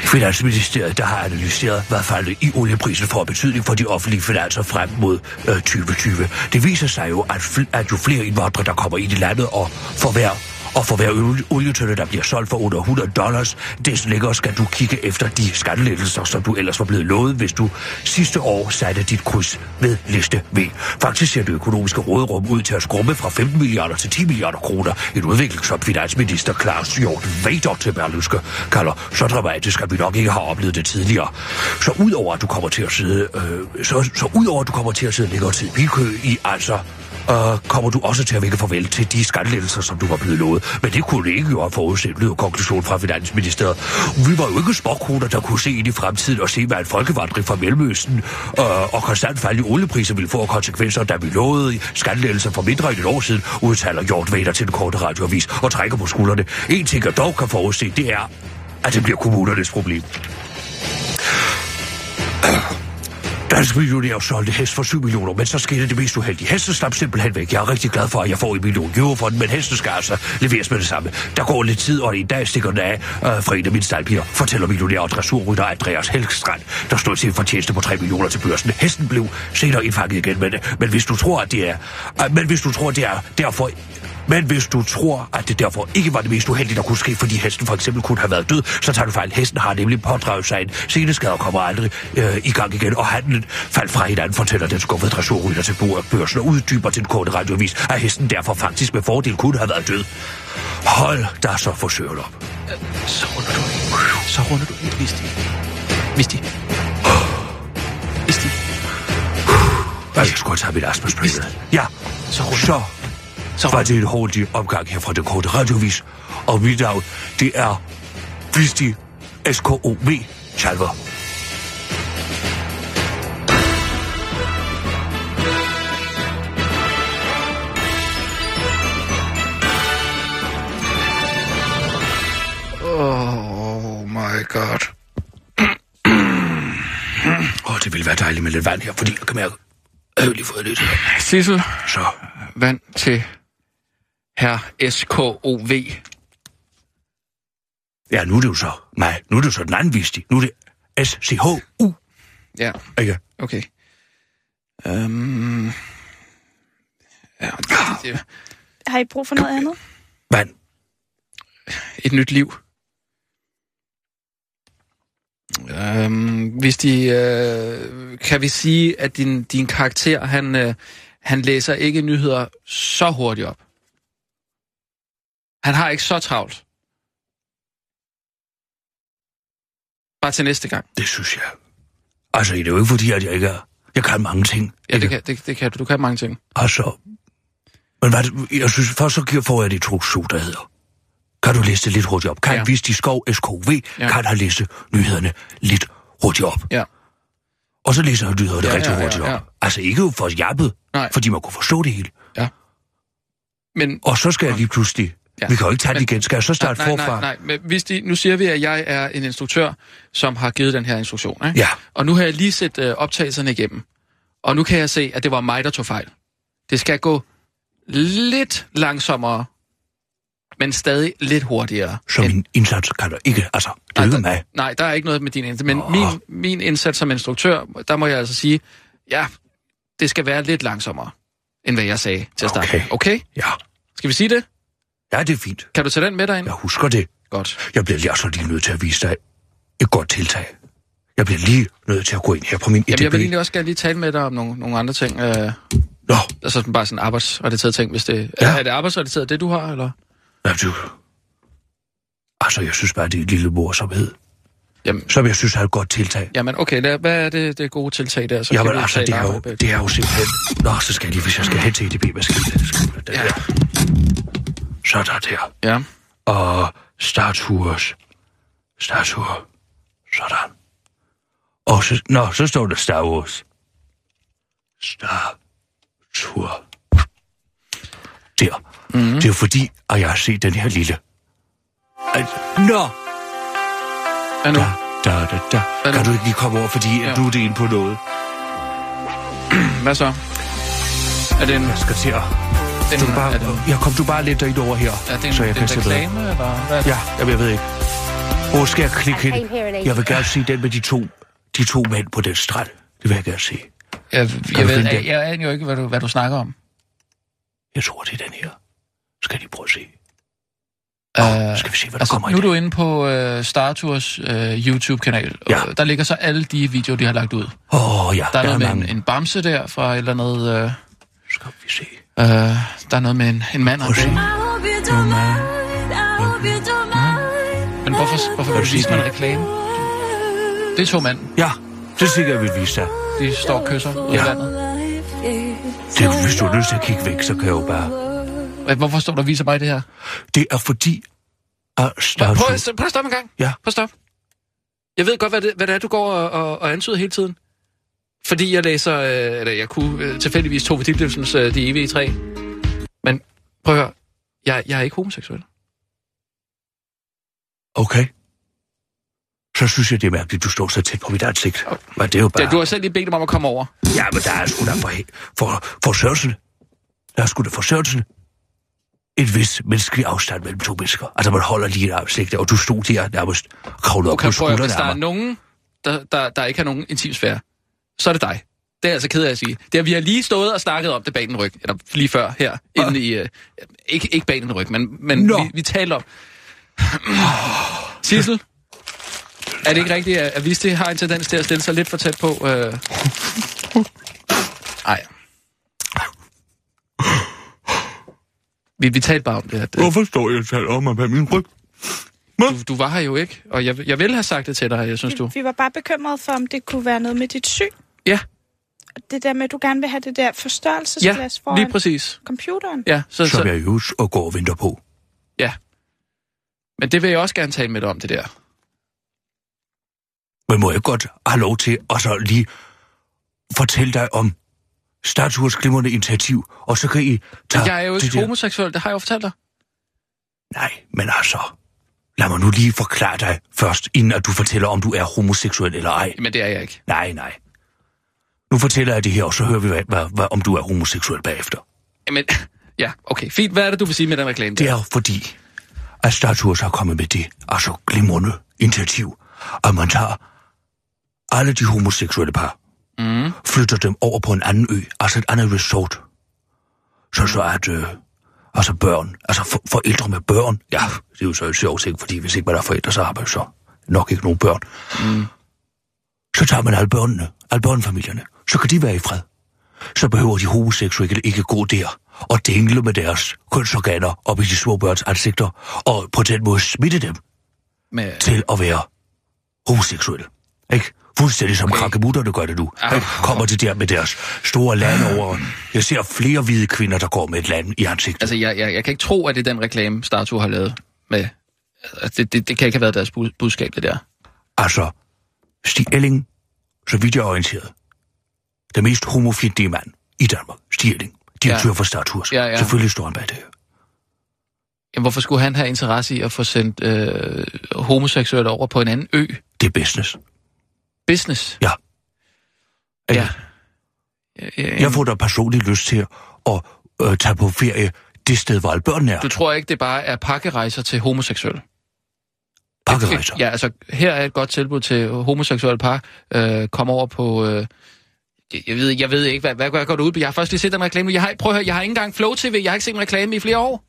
[SPEAKER 6] Finansministeriet, der har analyseret, hvad faldet i olieprisen får betydning for de offentlige finanser frem mod øh, 2020. Det viser sig jo, at, fl- at jo flere indvandrere, der kommer ind i landet, og for hver og for hver olie- olietønde, der bliver solgt for under 100 dollars, des længere skal du kigge efter de skattelettelser, som du ellers var blevet lovet, hvis du sidste år satte dit kryds ved liste V. Faktisk ser det økonomiske råderum ud til at skrumme fra 15 milliarder til 10 milliarder kroner. En udvikling, som finansminister Claus Hjort Vader til Berluske kalder så dramatisk, at vi nok ikke har oplevet det tidligere. Så udover at du kommer til at sidde, øh, så, så udover at du kommer til at sidde længere tid i bilkø i altså og kommer du også til at vinke farvel til de skattelettelser, som du var blevet lovet. Men det kunne ikke jo have forudset, lyder konklusion fra Finansministeriet. Vi var jo ikke småkroner, der kunne se ind i fremtiden og se, hvad en folkevandring fra Mellemøsten øh, og konstant fald i oliepriser ville få af konsekvenser, da vi lovede skattelettelser for mindre end et år siden, udtaler Hjort Vader til den korte radioavis og trækker på skuldrene. En ting, jeg dog kan forudse, det er, at det bliver kommunernes problem. Dansk millionær solgte hest for 7 millioner, men så skete det mest uheldige. Hesten slap simpelthen væk. Jeg er rigtig glad for, at jeg får en million euro for den, men hesten skal altså leveres med det samme. Der går lidt tid, og i dag stikker den af øh, fra en af mine staldpiger, fortæller millionær og dressurrytter Andreas Helgstrand, der stod til en fortjeneste på 3 millioner til børsen. Hesten blev senere indfanget igen, men, men hvis du tror, at det er... Øh, men hvis du tror, det er derfor men hvis du tror, at det derfor ikke var det mest uheldige, der kunne ske, fordi hesten for eksempel kunne have været død, så tager du fejl. Hesten har nemlig pådraget sig en seneskade og kommer aldrig øh, i gang igen, og handlen faldt fra hinanden, fortæller den skuffede dressurrytter til bord børsen og uddyber til den korte radiovis, at hesten derfor faktisk med fordel kunne have været død. Hold dig så for søren op.
[SPEAKER 4] Så runder du ind. Så runder du ind, Visti. Visti. Visti.
[SPEAKER 6] Jeg skulle have taget mit astmaspray med. Ja,
[SPEAKER 4] Så runder
[SPEAKER 6] så
[SPEAKER 4] Så
[SPEAKER 6] var det en hurtig omgang her fra den korte radiovis. Og mit navn, det er Visti SKOV Chalver.
[SPEAKER 4] Oh my god.
[SPEAKER 6] Åh, oh, det ville være dejligt med lidt vand her, fordi jeg kan mærke, jeg har lige fået lidt her.
[SPEAKER 4] Sissel,
[SPEAKER 6] Så,
[SPEAKER 4] vand til herr SKOV.
[SPEAKER 6] ja, nu er det jo så mig. Nu er det jo så den anden Visti. Nu er det SCHU,
[SPEAKER 4] Ja,
[SPEAKER 6] ikke?
[SPEAKER 4] okay. Øhm... Ja, det- det,
[SPEAKER 5] Har I brug for noget andet?
[SPEAKER 6] Vand.
[SPEAKER 4] et nyt liv. Øhm, hvis de, øh, kan vi sige, at din, din karakter, han, øh, han læser ikke nyheder så hurtigt op. Han har ikke så travlt. Bare til næste gang.
[SPEAKER 6] Det synes jeg. Altså, det er jo ikke fordi, at jeg ikke er... Jeg kan mange ting.
[SPEAKER 4] Ja, det
[SPEAKER 6] ikke?
[SPEAKER 4] kan, det, det kan du. Du kan mange ting.
[SPEAKER 6] Altså... Men hvad, er det- jeg synes, først så giver- får jeg et introduktion, der hedder... Kan du læse det lidt hurtigt op? Kan
[SPEAKER 4] Ja.
[SPEAKER 6] ja. vise de skov SKV?
[SPEAKER 4] Ja.
[SPEAKER 6] Ja. Kan han læse nyhederne lidt hurtigt op?
[SPEAKER 4] Ja.
[SPEAKER 6] Og så læser jeg nyhederne
[SPEAKER 4] Ja,
[SPEAKER 6] ja, rigtig
[SPEAKER 4] ja, ja,
[SPEAKER 6] hurtigt
[SPEAKER 4] ja.
[SPEAKER 6] op. Altså ikke for jappet,
[SPEAKER 4] Nej.
[SPEAKER 6] fordi man kunne forstå det hele.
[SPEAKER 4] Men
[SPEAKER 6] Og så skal jeg lige pludselig...
[SPEAKER 4] Ja.
[SPEAKER 6] Ja. Vi kan jo ikke tage
[SPEAKER 4] Men-
[SPEAKER 6] det igen. Skal jeg så starte
[SPEAKER 4] nej,
[SPEAKER 6] forfra?
[SPEAKER 4] nej, nej, men hvis de, nu siger vi, at jeg er en instruktør, som har givet den her instruktion, ikke?
[SPEAKER 6] Ja.
[SPEAKER 4] og nu har jeg lige set øh, optagelserne igennem, og nu kan jeg se, at det var mig, der tog fejl. Det skal gå lidt langsommere men stadig lidt hurtigere.
[SPEAKER 6] Så min indsats kan der ikke, altså, det er
[SPEAKER 4] nej,
[SPEAKER 6] jo
[SPEAKER 4] der,
[SPEAKER 6] mig.
[SPEAKER 4] nej, der er ikke noget med din indsats. Men min, min indsats som instruktør, der må jeg altså sige, ja, det skal være lidt langsommere, end hvad jeg sagde til at starte.
[SPEAKER 6] Okay.
[SPEAKER 4] okay?
[SPEAKER 6] Ja.
[SPEAKER 4] Skal vi sige det?
[SPEAKER 6] ja, det er fint.
[SPEAKER 4] Kan du tage den med dig ind?
[SPEAKER 6] Jeg husker det.
[SPEAKER 4] Godt.
[SPEAKER 6] Jeg bliver lige altså lige nødt til at vise dig et godt tiltag. Jeg bliver lige nødt til at gå ind her på min EDB.
[SPEAKER 4] Jamen, jeg vil egentlig også gerne lige tale med dig om nogle, nogle andre ting. Øh,
[SPEAKER 6] Nå,
[SPEAKER 4] altså sådan bare sådan arbejdsrelateret ting, hvis det...
[SPEAKER 6] Ja.
[SPEAKER 4] Ja. Er det arbejdsrelateret, det du har, eller?
[SPEAKER 6] ja, du... Altså, jeg synes bare, det er et lille morsomhed,
[SPEAKER 4] Jamen,
[SPEAKER 6] som jeg synes er et godt tiltag.
[SPEAKER 4] jamen okay, lad, hvad er det, det gode tiltag der? Så
[SPEAKER 6] Ja,
[SPEAKER 4] kan
[SPEAKER 6] men
[SPEAKER 4] vi
[SPEAKER 6] altså,
[SPEAKER 4] tale
[SPEAKER 6] det er, jo,
[SPEAKER 4] arbejde bag-
[SPEAKER 6] det er jo simpelthen... Nå, så skal jeg lige, hvis jeg skal hen til EDB-maskinen, så skal jeg den
[SPEAKER 4] Ja.
[SPEAKER 6] der. Så er der der.
[SPEAKER 4] Ja,
[SPEAKER 6] og statuers. Statuer. Sådan. Og så, nå, så står der Star Wars. Statur. Der.
[SPEAKER 4] Mhm.
[SPEAKER 6] Mm. Det er jo fordi, at jeg har set den her lille. At, nå,
[SPEAKER 4] hvad nu?
[SPEAKER 6] da, da, da, da.
[SPEAKER 4] Hvad nu?
[SPEAKER 6] Kan du ikke lige komme over, fordi ja.
[SPEAKER 4] Ja.
[SPEAKER 6] nu er det inde på noget.
[SPEAKER 4] Hvad så? Er det en...
[SPEAKER 6] Jeg skal til at...
[SPEAKER 4] Den,
[SPEAKER 6] Altså, Du bare,
[SPEAKER 4] er det, en-
[SPEAKER 6] jeg kom du bare lidt derind over her,
[SPEAKER 4] er det en,
[SPEAKER 6] så jeg
[SPEAKER 4] det er
[SPEAKER 6] kan
[SPEAKER 4] en
[SPEAKER 6] sætte dig.
[SPEAKER 4] reklame, eller hvad?
[SPEAKER 6] Ja, jamen, jeg ved ikke. Hvor skal jeg klikke hen? Jeg vil gerne se den med de to, de to mænd på den strand. Det vil jeg gerne se.
[SPEAKER 4] Jeg,
[SPEAKER 6] du
[SPEAKER 4] jeg, ved,
[SPEAKER 6] finde
[SPEAKER 4] jeg,
[SPEAKER 6] den?
[SPEAKER 4] jeg aner jo ikke, hvad du, hvad du snakker om.
[SPEAKER 6] Jeg tror, det er den her. Skal de prøve at se?
[SPEAKER 4] Øh,
[SPEAKER 6] Skal vi se, hvad der altså,
[SPEAKER 4] altså,
[SPEAKER 6] kommer i
[SPEAKER 4] nu er
[SPEAKER 6] dag?
[SPEAKER 4] du inde på øh, Star Tours øh, YouTube-kanal. og
[SPEAKER 6] Ja.
[SPEAKER 4] Der ligger så alle de videoer, de har lagt ud.
[SPEAKER 6] Åh, oh, ja,
[SPEAKER 4] Der er noget med en,
[SPEAKER 6] mange.
[SPEAKER 4] en bamse der fra et eller andet... Øh,
[SPEAKER 6] Skal vi se.
[SPEAKER 4] øh, der er noget med en, en mand og en
[SPEAKER 6] Prøv at
[SPEAKER 4] dame. Men hvorfor, hvorfor vil du
[SPEAKER 6] se
[SPEAKER 4] vise mig en
[SPEAKER 6] det?
[SPEAKER 4] reklame? Det er to mænd.
[SPEAKER 6] Ja, det tænker jeg, jeg vil vise dig.
[SPEAKER 4] De står og kysser ude i
[SPEAKER 6] Ja.
[SPEAKER 4] landet.
[SPEAKER 6] Det, er jo, hvis du har lyst til at kigge væk, så kan jeg jo bare...
[SPEAKER 4] Hvad- Hvorfor står der og viser mig det her?
[SPEAKER 6] Det er fordi, Ah, at
[SPEAKER 4] Prøv, prøv,
[SPEAKER 6] statuen...
[SPEAKER 4] at- prøv at stoppe en gang.
[SPEAKER 6] Ja.
[SPEAKER 4] Prøv at stoppe. Jeg ved godt, hvad det, hvad det er, du går og, og, og antyder hele tiden. Fordi jeg læser, øh, eller jeg kunne øh, tilfældigvis Tove Ditlevsens øh, De evige træ. Men prøv at høre, jeg, jeg er ikke homoseksuel.
[SPEAKER 6] Okay. Så synes jeg, det er mærkeligt, du står så tæt på mit ansigt. Men det er jo bare...
[SPEAKER 4] Ja, du har selv lige bedt dem om at komme over.
[SPEAKER 6] Ja, men der er sgu da for, for, for sørsel. Der er sgu da for sørsel. En vis menneskelig afstand mellem to mennesker. Altså, man holder lige et armslægte, og du stod der nærmest kravlet op
[SPEAKER 4] Okay,
[SPEAKER 6] på
[SPEAKER 4] prøv at høre, hvis der er
[SPEAKER 6] skuldrene af mig.
[SPEAKER 4] nogen, der, der, der ikke har nogen intimsfære, så er det dig. Det er jeg altså ked af at sige. Det er, vi har lige stået og snakket om det bag den ryg, eller lige før her, inde i, øh, ikke, ikke bag den ryg, men, men vi,
[SPEAKER 6] Nå.
[SPEAKER 4] vi talte om. Sissel, er det ikke rigtigt, at, at Viste har en tendens til at stille sig lidt for tæt på? Øh... Ej. Vi, vi talte bare om det, at øh,
[SPEAKER 6] Hvorfor står jeg og taler om mig bag min ryg?
[SPEAKER 4] du, du var her jo ikke, og jeg, jeg ville have sagt det til dig, jeg synes du.
[SPEAKER 5] Vi var bare bekymrede for, om det kunne være noget med dit syn.
[SPEAKER 4] Ja.
[SPEAKER 5] Og det der med, at du gerne vil have det der
[SPEAKER 4] Ja,
[SPEAKER 5] forstørrelsesglas foran
[SPEAKER 4] lige præcis.
[SPEAKER 5] computeren.
[SPEAKER 4] Ja, så,
[SPEAKER 6] Som
[SPEAKER 4] så,
[SPEAKER 6] jeg jo og går og venter på.
[SPEAKER 4] ja. Men det vil jeg også gerne tale med dig om, det der.
[SPEAKER 6] Men må jeg godt have lov til at så lige fortælle dig om Statuers glimrende initiativ, og så kan I tage
[SPEAKER 4] Jeg er jo
[SPEAKER 6] det
[SPEAKER 4] ikke
[SPEAKER 6] der-
[SPEAKER 4] homoseksuel, det har jeg jo fortalt dig.
[SPEAKER 6] Nej, men altså... Lad mig nu lige forklare dig først, inden at du fortæller, om du er homoseksuel eller ej.
[SPEAKER 4] Men det er jeg ikke.
[SPEAKER 6] Nej, nej. Nu fortæller jeg det her, og så hører vi, hvad, hvad, hvad, om du er homoseksuel bagefter.
[SPEAKER 4] Men, ja, okay. Fint, hvad er det, du vil sige med den reklame
[SPEAKER 6] Det
[SPEAKER 4] der?
[SPEAKER 6] er jo fordi, at Statuers har kommet med det, altså glimrende initiativ, at man tager alle de homoseksuelle par, mm. flytter dem over på en anden ø, altså et andet resort, så så at, øh, altså børn, altså for, forældre med børn, ja, det er jo så en sjov ting, fordi hvis ikke man er forældre, så har man jo så nok ikke nogen børn. Mm. Så tager man alle børnene, alle børnefamilierne, så kan de være i fred. så behøver de homoseksuelle ikke gå der og dingle med deres kønsorganer op i de små børns ansigter, og på den måde smitte dem
[SPEAKER 4] Med,
[SPEAKER 6] til at være homoseksuelle. Ikke? Fuldstændig som okay. krankemutterne gør det nu.
[SPEAKER 4] Ah.
[SPEAKER 6] Ikke? Kommer de der med deres store lande over. Jeg ser flere hvide kvinder, der går med et land i ansigtet.
[SPEAKER 4] altså, jeg, jeg, jeg kan ikke tro, at det er den reklame, Startu har lavet med... altså, Det, det, det kan ikke have været deres bud- budskab, det der.
[SPEAKER 6] Altså, Stig Elling, så vidt jeg er orienteret, den mest homofjendtlige mand i Danmark, Stig Elling, direktør
[SPEAKER 4] Ja.
[SPEAKER 6] ja. for Starturs.
[SPEAKER 4] Ja, ja.
[SPEAKER 6] Selvfølgelig står han bag det her.
[SPEAKER 4] Jamen, hvorfor skulle han have interesse i at få sendt øh, homoseksuelle over på en anden ø?
[SPEAKER 6] Det er business.
[SPEAKER 4] Business?
[SPEAKER 6] Ja.
[SPEAKER 4] Ja. ja.
[SPEAKER 6] Jeg får da personligt lyst til at øh, tage på ferie det sted, hvor alle børnene er.
[SPEAKER 4] Du tror ikke, det bare er pakkerejser til homoseksuelle?
[SPEAKER 6] Pakkerejser.
[SPEAKER 4] Ja, altså, her er et godt tilbud til homoseksuelle par. Øh, kom over på... Øh, jeg- jeg ved, jeg ved ikke, hvad, hvad, hvad går du ud på? Jeg har først lige set den reklame. nu. Jeg har, prøv at høre, jeg har ikke engang Flow TV. Jeg har ikke set en reklame i flere år.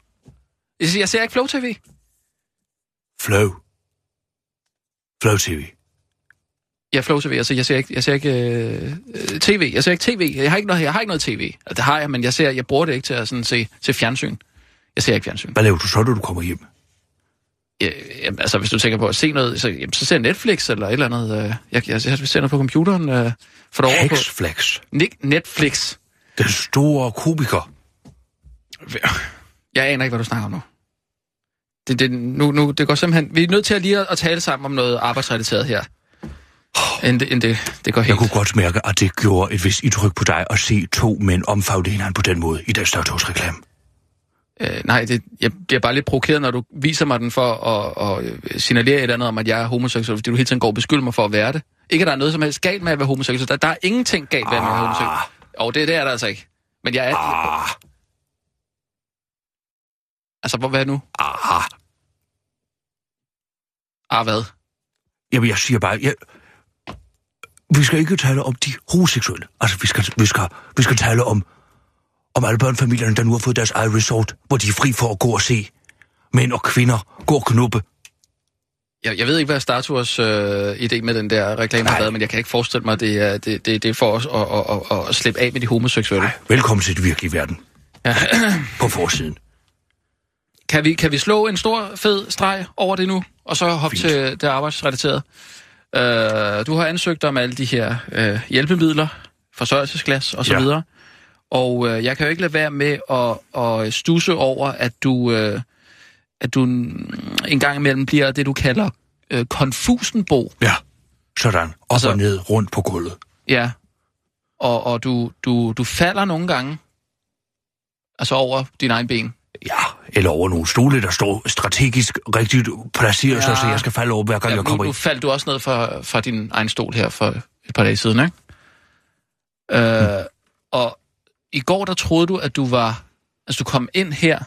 [SPEAKER 4] Jeg siger- Jeg ser ikke Flow TV.
[SPEAKER 6] Flow. Flow TV.
[SPEAKER 4] Ja, Flow TV. Altså, jeg ser ikke, jeg ser ikke øh, øh, TV. Jeg ser ikke TV. Jeg har ikke noget, jeg har ikke noget TV. Altså, det har jeg, men jeg, ser, jeg bruger det ikke til at sådan, se, se fjernsyn. Jeg ser ikke fjernsyn.
[SPEAKER 6] Hvad laver du så, når du kommer hjem?
[SPEAKER 4] Ja, jamen, altså, hvis du tænker på at se noget, så, jamen, så ser jeg Netflix eller et eller andet. Øh, jeg, jeg, jeg ser noget på computeren. Øh, for det over på
[SPEAKER 6] Hexflex.
[SPEAKER 4] Nick Netflix.
[SPEAKER 6] Den store komiker.
[SPEAKER 4] Jeg aner ikke, hvad du snakker om nu. Det, det, nu, nu, det går simpelthen... Vi er nødt til at lige at, at tale sammen om noget arbejdsrelateret her. End, det- end det, det går helt...
[SPEAKER 6] Jeg kunne godt mærke, at det gjorde et vist indtryk på dig at se to mænd omfavne hinanden på den måde i den Statoils-reklame.
[SPEAKER 4] Øh, nej, det, jeg bliver bare lidt provokeret, når du viser mig den for at, at øh, signalere et eller andet om, at jeg er homoseksuel, fordi du hele tiden går og beskylder mig for at være det. Ikke, at der er noget som helst galt med at være homoseksuel. Der, der er ingenting galt med at være homoseksuel. Og det, det er der altså ikke. Men jeg er...
[SPEAKER 6] Ah,
[SPEAKER 4] Altså, hvor, hvad nu?
[SPEAKER 6] ah.
[SPEAKER 4] Ah, hvad?
[SPEAKER 6] Jamen, jeg siger bare, jeg... vi skal ikke tale om de homoseksuelle. Altså, vi skal, vi skal, vi skal tale om, om alle børnefamilierne, der nu har fået deres eget resort, hvor de er fri for at gå og se mænd og kvinder gå og knuppe.
[SPEAKER 4] Jeg, jeg ved ikke, hvad Statuers øh, idé med den der reklame har
[SPEAKER 6] Nej.
[SPEAKER 4] været, men jeg kan ikke forestille mig, at det er, det, det, det er for os at, at, at, at slippe af med de homoseksuelle.
[SPEAKER 6] Nej, velkommen til den virkelige verden. på forsiden.
[SPEAKER 4] Kan vi, kan vi slå en stor, fed streg over det nu, og så hoppe
[SPEAKER 6] Fint.
[SPEAKER 4] til det arbejdsrelaterede? Øh, du har ansøgt om alle de her øh, hjælpemidler, forsørgelsesglas og så
[SPEAKER 6] Ja.
[SPEAKER 4] videre. Og øh, jeg kan jo ikke lade være med at, at stusse over, at du, øh, at du en en gang imellem bliver det, du kalder øh, konfusenbo.
[SPEAKER 6] Ja, sådan. Op
[SPEAKER 4] Altså-
[SPEAKER 6] altså... og ned, rundt på gulvet.
[SPEAKER 4] Ja. Og, og du, du, du falder nogle gange altså over din egen ben.
[SPEAKER 6] Ja, eller over nogle stole, der står strategisk rigtigt placeret, ja. så, så jeg skal falde over, hver gang ja, jeg
[SPEAKER 4] nu,
[SPEAKER 6] kommer
[SPEAKER 4] nu
[SPEAKER 6] ind.
[SPEAKER 4] faldt du også ned fra, fra din egen stol her for et par dage siden, ikke? Øh, og i går, der troede du, at du var... Altså, du kom ind her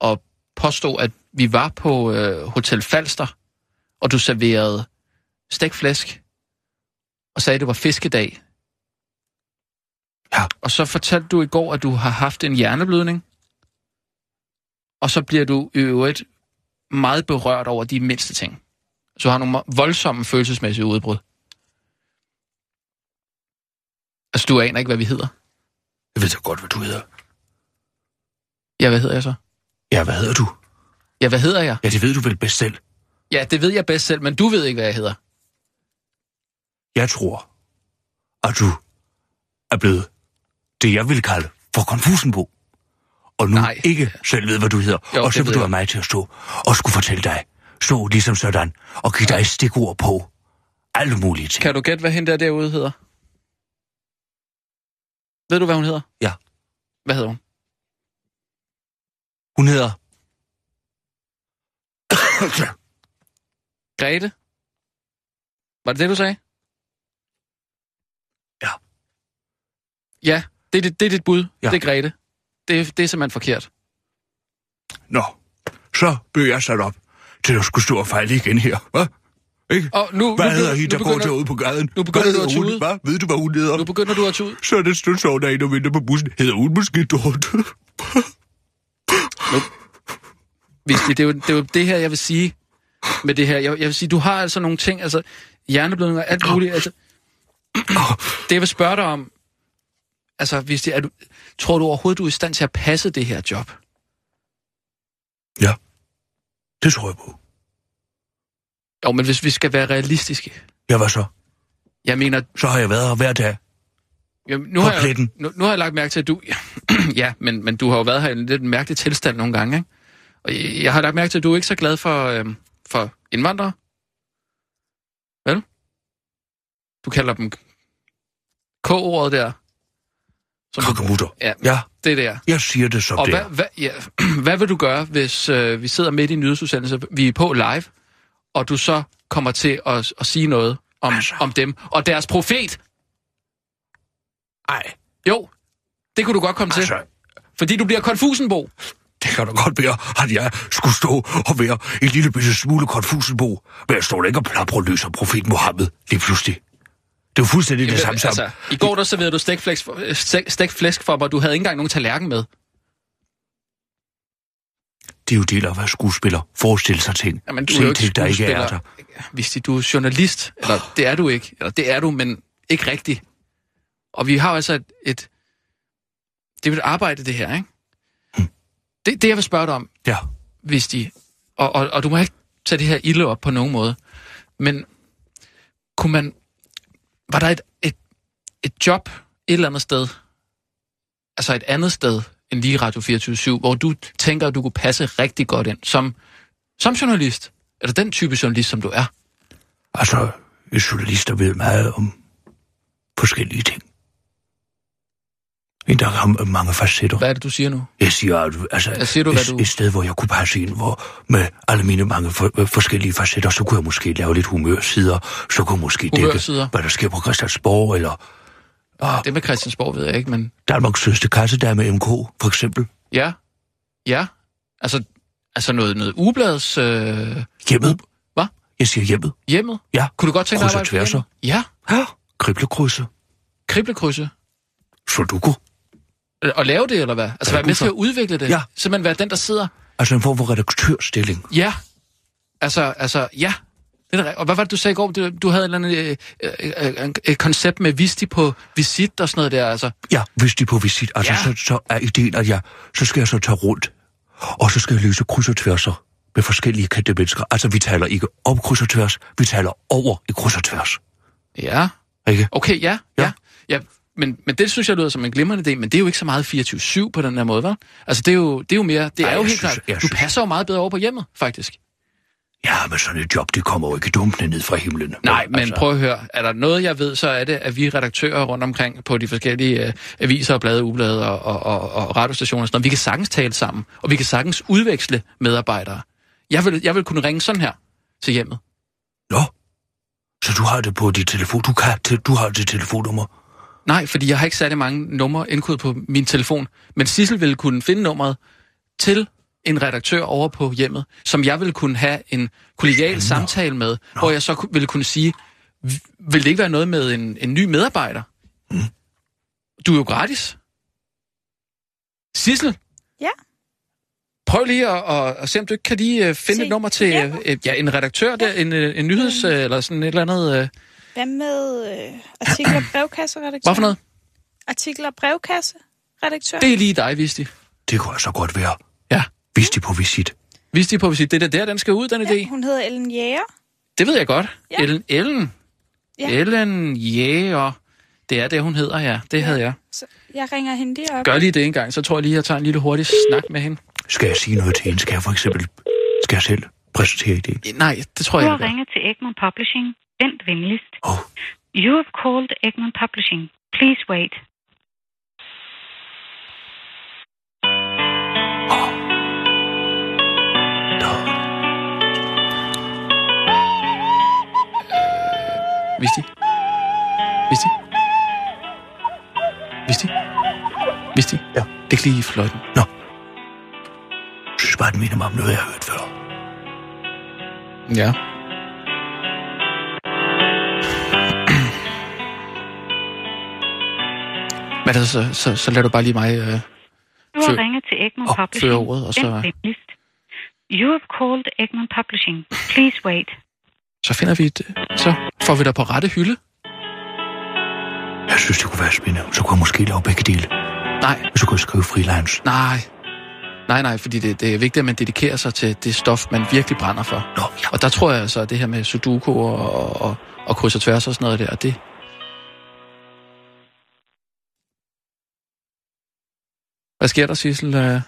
[SPEAKER 4] og påstod, at vi var på øh, Hotel Falster, og du serverede stækflæsk, og sagde, at det var fiskedag.
[SPEAKER 6] Ja.
[SPEAKER 4] Og så fortalte du i går, at du har haft en hjerneblødning, og så bliver du i øvrigt meget berørt over de mindste ting. Så du har nogle voldsomme følelsesmæssige udbrud. Altså, du aner ikke, hvad vi hedder.
[SPEAKER 6] Jeg ved så godt, hvad du hedder.
[SPEAKER 4] Ja, hvad hedder jeg så?
[SPEAKER 6] Ja, hvad hedder du?
[SPEAKER 4] Ja, hvad hedder jeg?
[SPEAKER 6] Ja, det ved du vel bedst selv.
[SPEAKER 4] Ja, det ved jeg bedst selv, men du ved ikke, hvad jeg hedder.
[SPEAKER 6] Jeg tror, at du er blevet det, jeg vil kalde for Konfusenbo. Og nu
[SPEAKER 4] Nej.
[SPEAKER 6] Nej. ikke selv ved, hvad du hedder.
[SPEAKER 4] Jo,
[SPEAKER 6] Jo, og
[SPEAKER 4] det
[SPEAKER 6] så
[SPEAKER 4] ved
[SPEAKER 6] vil du
[SPEAKER 4] jeg.
[SPEAKER 6] have mig til at stå og skulle fortælle dig. Stå ligesom sådan og give dig stikord på alle mulige ting.
[SPEAKER 4] Kan du gætte, hvad hende der derude hedder? Ved du, hvad hun hedder?
[SPEAKER 6] Ja.
[SPEAKER 4] Hvad hedder hun?
[SPEAKER 6] Hun hedder...
[SPEAKER 4] Grete? Var det det, du sagde?
[SPEAKER 6] Ja.
[SPEAKER 4] Ja, det er, dit- det er dit bud. Ja.
[SPEAKER 6] Ja.
[SPEAKER 4] Det er Grete. Det, er- det er simpelthen forkert.
[SPEAKER 6] Nå, så blev jeg sat op til at skulle stå og fejle igen her. Hva? Ikke?
[SPEAKER 4] Og nu,
[SPEAKER 6] Hvad
[SPEAKER 4] nu,
[SPEAKER 6] hedder
[SPEAKER 4] nu,
[SPEAKER 6] hende, der
[SPEAKER 4] nu
[SPEAKER 6] går
[SPEAKER 4] begynder,
[SPEAKER 6] derude på gaden?
[SPEAKER 4] nu begynder
[SPEAKER 6] Hvad
[SPEAKER 4] du at
[SPEAKER 6] hedder hun?
[SPEAKER 4] tude.
[SPEAKER 6] Hva? Ved du, hvad hun hedder?
[SPEAKER 4] nu begynder du at tage ud.
[SPEAKER 6] Så er det stund så derinde og venter på bussen. Hedder hun måske Dorte?
[SPEAKER 4] Hvis det, det, er jo, det er jo det her, jeg vil sige med det her. Jeg, jeg vil sige, du har altså nogle ting, altså hjerneblødninger, alt muligt. Altså, det jeg vil spørge dig om, altså hvis det, er du, tror du overhovedet, du er i stand til at passe det her job?
[SPEAKER 6] Det tror jeg på.
[SPEAKER 4] Jo, men hvis vi skal være realistiske.
[SPEAKER 6] Ja, hvad så?
[SPEAKER 4] Jeg mener,
[SPEAKER 6] Så har jeg været her hver dag.
[SPEAKER 4] Jamen, nu,
[SPEAKER 6] For
[SPEAKER 4] har jeg,
[SPEAKER 6] pletten.
[SPEAKER 4] nu, nu har jeg lagt mærke til, at du... ja, men, men du har jo været her i en lidt mærkelig tilstand nogle gange, ikke? Og jeg, jeg har lagt mærke til, at du er ikke så glad for, øhm, for indvandrere. Vel? Du kalder dem K-ordet der. Som du,
[SPEAKER 6] Kokkemutter.
[SPEAKER 4] ja,
[SPEAKER 6] Ja,
[SPEAKER 4] det der.
[SPEAKER 6] jeg siger det som
[SPEAKER 4] Og
[SPEAKER 6] det
[SPEAKER 4] hvad,
[SPEAKER 6] er.
[SPEAKER 4] hvad, ja, hvad vil du gøre, hvis øh, vi sidder midt i en nyhedsudsendelse, vi er på live, og du så kommer til at, at sige noget om, altså.
[SPEAKER 6] Altså.
[SPEAKER 4] om dem og deres profet?
[SPEAKER 6] Ej,
[SPEAKER 4] Jo, det kunne du godt komme til.
[SPEAKER 6] altså,
[SPEAKER 4] Fordi du bliver konfusenbo.
[SPEAKER 6] Det kan da godt være, at jeg skulle stå og være en lille bitte smule konfusenbo, men jeg står da ikke og plapper løs om profeten Mohammed lige pludselig. Det er jo fuldstændig det samme sammen.
[SPEAKER 4] Altså, I går der serverede du stegt flæsk, for- øh, stek- stegt flæsk for mig, du havde ikke engang nogen tallerken med.
[SPEAKER 6] Det er jo del af at være skuespiller. Forestil sig ting.
[SPEAKER 4] Jamen,
[SPEAKER 6] Se ting, der ikke er der.
[SPEAKER 4] skuespiller. Hvis de- du er journalist, eller det er du ikke, eller det er du, men ikke rigtigt. Og vi har jo altså et, et det er jo et arbejde, det her, ikke?
[SPEAKER 6] Mm.
[SPEAKER 4] Det, det, jeg vil spørge dig om,
[SPEAKER 6] Ja.
[SPEAKER 4] hvis de... Og, og, og du må ikke tage det her ilde op på nogen måde. Men kunne man... Var der et, et, et job et eller andet sted? Altså et andet sted end lige Radio 24 hvor du tænker, at du kunne passe rigtig godt ind som, som journalist? Eller den type journalist, som du er?
[SPEAKER 6] Altså, journalister ved meget om forskellige ting. Men Der er mange facetter.
[SPEAKER 4] Hvad er det, du siger nu?
[SPEAKER 6] Jeg siger, at- altså,
[SPEAKER 4] Hvad siger du, hvad
[SPEAKER 6] et,
[SPEAKER 4] du-
[SPEAKER 6] et sted, hvor jeg kunne passe ind, hvor med alle mine mange for, øh, forskellige facetter, så kunne jeg måske lave lidt humørsider, så kunne jeg måske
[SPEAKER 4] Humørsider?
[SPEAKER 6] dække, hvad der sker på Christiansborg, eller
[SPEAKER 4] Det med Christiansborg ved jeg ikke, men...
[SPEAKER 6] Danmarks sødeste kassedame med MK, for eksempel.
[SPEAKER 4] Ja. Ja. Altså, altså noget, noget ubladets øh,
[SPEAKER 6] Hjemmet.
[SPEAKER 4] Hvad?
[SPEAKER 6] Jeg siger hjemmet.
[SPEAKER 4] hjemmet.
[SPEAKER 6] Ja.
[SPEAKER 4] Kunne du godt tænke dig at
[SPEAKER 6] Krydser
[SPEAKER 4] arbejde for
[SPEAKER 6] tværser.
[SPEAKER 4] hjemmet? Ja.
[SPEAKER 6] Ja. Kriblekrydse.
[SPEAKER 4] Kriblekrydse.
[SPEAKER 6] Sudoku.
[SPEAKER 4] Øh, at lave det, eller hvad? Altså være med til at udvikle det?
[SPEAKER 6] Ja.
[SPEAKER 4] Simpelthen være den, der sidder?
[SPEAKER 6] Altså en form for redaktørstilling.
[SPEAKER 4] Ja. Altså, altså, ja. Det er da rigtigt. og hvad var det, du sagde i går? Du, du havde et eller andet øh, øh, øh, øh, koncept med Visti på visit og sådan noget der, altså.
[SPEAKER 6] Ja, hvis de er på visit. Altså,
[SPEAKER 4] Ja.
[SPEAKER 6] ja. så, så er ideen, at jeg, så skal jeg så tage rundt, og så skal jeg løse kryds og tværser med forskellige kendte mennesker. Altså, vi taler ikke om kryds og tværs, vi taler over i kryds og tværs.
[SPEAKER 4] Ja.
[SPEAKER 6] Ikke?
[SPEAKER 4] Okay, ja. Ja.
[SPEAKER 6] Ja.
[SPEAKER 4] ja. ja. Men, men det synes jeg lyder som en glimrende idé, men det er jo ikke så meget 24-7 på den her måde, hva'? Altså, det er jo, det er jo mere... Det
[SPEAKER 6] Ej,
[SPEAKER 4] er jo
[SPEAKER 6] jeg
[SPEAKER 4] helt
[SPEAKER 6] synes-
[SPEAKER 4] klart...
[SPEAKER 6] jeg
[SPEAKER 4] Du
[SPEAKER 6] synes-
[SPEAKER 4] passer jo meget bedre over på hjemmet, faktisk.
[SPEAKER 6] Ja, men sådan et job, det kommer jo ikke dumpende ned fra himlen. Altså,
[SPEAKER 4] Nej, men prøv at høre. Er der noget, jeg ved, så er det, at vi redaktører rundt omkring på de forskellige øh, aviser og blade, ublade og, og, og, og radiostationer og sådan noget, vi kan sagtens tale sammen, og vi kan sagtens udveksle medarbejdere. Jeg vil, jeg vil kunne ringe sådan her til hjemmet.
[SPEAKER 6] Nå, så du har det på dit telefon, du, kan, til- du har dit telefonnummer.
[SPEAKER 4] Nej, fordi jeg har ikke særlig mange numre indkodet på min telefon, men Sissel ville kunne finde nummeret til en redaktør over på hjemmet, som jeg ville kunne have en kollegial samtale med, hvor jeg så ku- ville kunne sige, "V- vil det ikke være noget med en, en ny medarbejder? Du er jo gratis. Sissel?
[SPEAKER 5] Ja?
[SPEAKER 4] Prøv lige at, at, at se, om du ikke kan lige øh, finde
[SPEAKER 5] Se,
[SPEAKER 4] et nummer til
[SPEAKER 5] ja. Mm.
[SPEAKER 4] ja. Ja, en redaktør, der, en, øh, en nyheds- øh, eller sådan et eller andet. øh,
[SPEAKER 5] Hvad med øh, artikler og brevkasseredaktør?
[SPEAKER 4] Hvad for noget?
[SPEAKER 5] Artikler og brevkasseredaktør?
[SPEAKER 4] Det er lige dig, Visti.
[SPEAKER 6] Det kunne altså godt være,
[SPEAKER 4] Ja.
[SPEAKER 6] hvis de er på visit.
[SPEAKER 4] Hvis de på, hvis det er der, der, den skal ud, den idé.
[SPEAKER 5] ja, hun hedder Ellen Jæger.
[SPEAKER 4] Det ved jeg godt.
[SPEAKER 5] Ja.
[SPEAKER 4] Ellen. Ellen.
[SPEAKER 5] Ja.
[SPEAKER 4] Ellen Jæger. Det er det, hun hedder, ja. Det havde jeg.
[SPEAKER 5] Så jeg ringer hende lige op.
[SPEAKER 4] Gør lige det en gang, så tror jeg lige, jeg tager en lille hurtig snak med hende.
[SPEAKER 6] Skal jeg sige noget til hende? Skal jeg for eksempel skal jeg selv præsentere ideen?
[SPEAKER 4] Eh, Nej, det tror
[SPEAKER 9] Du
[SPEAKER 4] jeg
[SPEAKER 9] har
[SPEAKER 4] ikke.
[SPEAKER 9] ringet til Egmont Publishing. Vent venligst.
[SPEAKER 6] Åh, oh,
[SPEAKER 9] You have called Egmont Publishing. Please wait.
[SPEAKER 6] nå.
[SPEAKER 4] Hvis de. Hvis de. Hvis de. Hvis de.
[SPEAKER 6] Ja.
[SPEAKER 4] Det er ikke lige i fløjten.
[SPEAKER 6] Jeg synes bare, det minder mig om noget, jeg har hørt før.
[SPEAKER 4] Ja. Men altså, så, så, så lader du bare lige mig... Øh,
[SPEAKER 9] Du har
[SPEAKER 4] Fø-
[SPEAKER 9] ringet til Egmont
[SPEAKER 4] Åh,
[SPEAKER 9] Publishing.
[SPEAKER 4] før ordet, og så-
[SPEAKER 9] Vent venligst. You have called Egmont Publishing. Please wait.
[SPEAKER 4] så finder vi et... øh, Så får vi dig på rette hylde.
[SPEAKER 6] Jeg synes, det kunne være spændende. Så kunne jeg måske lave begge dele.
[SPEAKER 4] Nej,
[SPEAKER 6] Og så kunne jeg skrive freelance.
[SPEAKER 4] Nej. Nej, nej, fordi det, det er vigtigt, at man dedikerer sig til det stof, man virkelig brænder for.
[SPEAKER 6] Nå, ja.
[SPEAKER 4] Og der tror jeg altså, at det her med sudoku og, og, og, og kryds og tværs og sådan noget der, det... Hvad sker der, Sissel? Øh,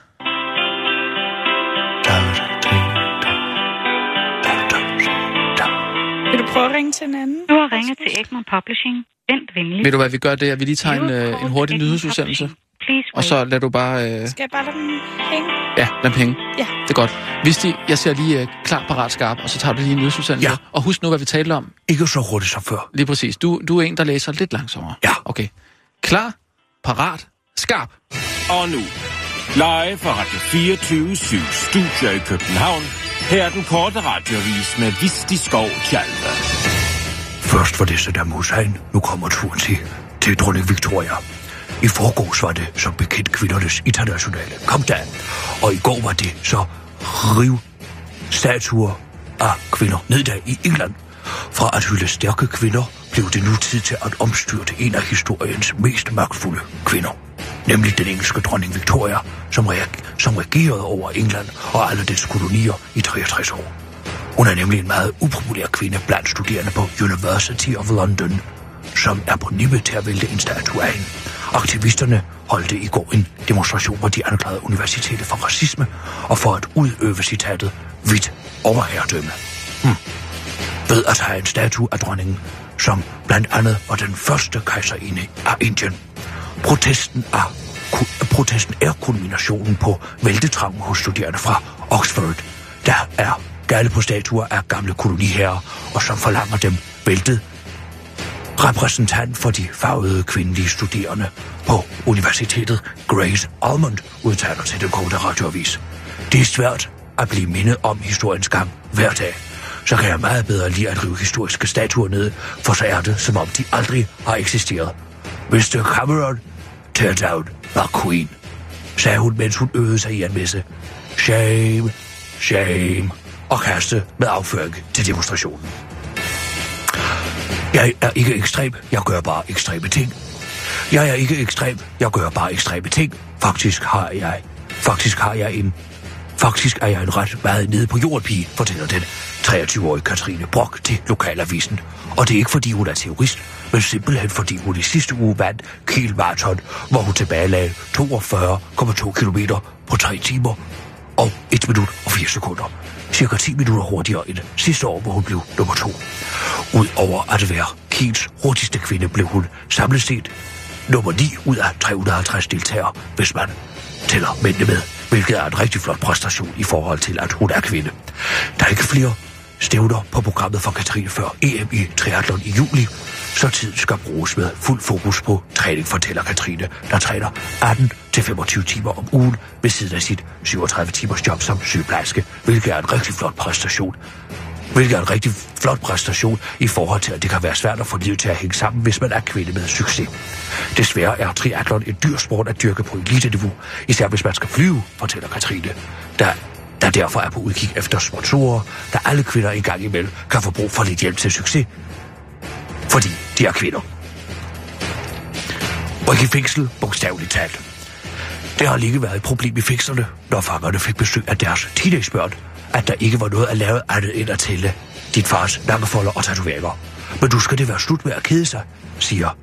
[SPEAKER 5] Vil du prøve at ringe til en anden?
[SPEAKER 9] Du har ringet til Egmont Publishing. Vent venligst.
[SPEAKER 4] Ved du, hvad vi gør det? At vi lige tager
[SPEAKER 9] You
[SPEAKER 4] en,
[SPEAKER 9] have
[SPEAKER 4] øh, en
[SPEAKER 9] called
[SPEAKER 4] hurtig
[SPEAKER 9] Egmont
[SPEAKER 4] nyhedsudsendelse,
[SPEAKER 9] Publishing. Please wait.
[SPEAKER 4] og så lader du bare... Øh,
[SPEAKER 5] Skal jeg bare lade dem hænge?
[SPEAKER 4] ja, lad penge.
[SPEAKER 5] Ja.
[SPEAKER 4] Det er godt. Hvis de, jeg ser lige øh, klar, parat, skarp, og så tager du lige en nyhedsudsendelse.
[SPEAKER 6] Ja.
[SPEAKER 4] Og husk nu, hvad vi talte om.
[SPEAKER 6] Ikke så hurtigt som før.
[SPEAKER 4] Lige præcis. Du, du er en, der læser lidt langsommere.
[SPEAKER 6] Ja.
[SPEAKER 4] Okay. Klar, parat, skarp.
[SPEAKER 8] Og nu, Live fra Radio 24 7, Studio i København. Her er den korte radiovis med Visti Skov Tjalve.
[SPEAKER 6] Først var det Saddam Hussein, nu kommer turen til, til dronning Victoria. I forgårs var det som bekendt kvindernes internationale kampdag, og i går var det så riv statuer af kvinder nedad i England. Fra at hylde stærke kvinder blev det nu tid til at omstyrte en af historiens mest magtfulde kvinder. Nemlig den engelske dronning Victoria, som, reag- som regerede over England og alle dets kolonier i 63 år. Hun er nemlig en meget upopulær kvinde blandt studerende på University of London, som er på nippet til at vælte en statue af hende. Aktivisterne holdt i går en demonstration, hvor de anklagede universitetet for racisme og for at udøve citatet vidt overherredømme. Hmm. Ved at have en statue af dronningen, som blandt andet var den første kejserinde af Indien. Protesten er ku- protesten er kulminationen på væltetrangen hos studerende fra Oxford, der er gale på statuer af gamle koloniherrer, og som forlanger dem væltet. Repræsentant for de farvede kvindelige studerende på universitetet, Grace Almond, udtaler til den korte radioavis. Det er svært at blive mindet om historiens gang hver dag. Så kan jeg meget bedre lide at rive historiske statuer ned, for så er det, som om de aldrig har eksisteret. Mr. Cameron Turns out var queen, sagde hun, mens hun øvede sig i at misse. Shame, shame, og kaste med afføring til demonstrationen. Jeg er ikke ekstrem, jeg gør bare ekstreme ting. Jeg er ikke ekstrem, jeg gør bare ekstreme ting. Faktisk har jeg, faktisk har jeg en, faktisk er jeg en ret meget nede på jorden pige, fortæller den 23-årige Katrine Brock til Lokalavisen. Og det er ikke fordi hun er terrorist, men simpelthen fordi hun i sidste uge vandt Kiel Marathon, hvor hun tilbagelagde 42,2 km på 3 timer og 1 minut og 4 sekunder. Cirka 10 minutter hurtigere end sidste år, hvor hun blev nummer 2. Udover at være Kiels hurtigste kvinde, blev hun samlet set nummer 9 ud af 350 deltagere, hvis man tæller mændene med, hvilket er en rigtig flot præstation i forhold til, at hun er kvinde. Der er ikke flere stævner på programmet for Katrine før EM i triathlon i juli, så tiden skal bruges med fuld fokus på træning, fortæller Katrine, der træner 18-25 timer om ugen ved siden af sit 37 timers job som sygeplejerske, hvilket er en rigtig flot præstation. Hvilket er en rigtig flot præstation i forhold til, at det kan være svært at få livet til at hænge sammen, hvis man er kvinde med succes. Desværre er triathlon en dyr sport at dyrke på eliteniveau, især hvis man skal flyve, fortæller Katrine, der, der derfor er på udkig efter sponsorer, der alle kvinder en gang imellem kan få brug for lidt hjælp til succes, fordi de er kvinder. Og ikke i fængsel, bogstaveligt talt. Det har længe været et problem i fængslerne, når fangerne fik besøg af deres teenagebørn, at der ikke var noget at lave andet end at tælle din fars nakkefolder og tatoveringer. Men nu skal det være slut med at kede sig, siger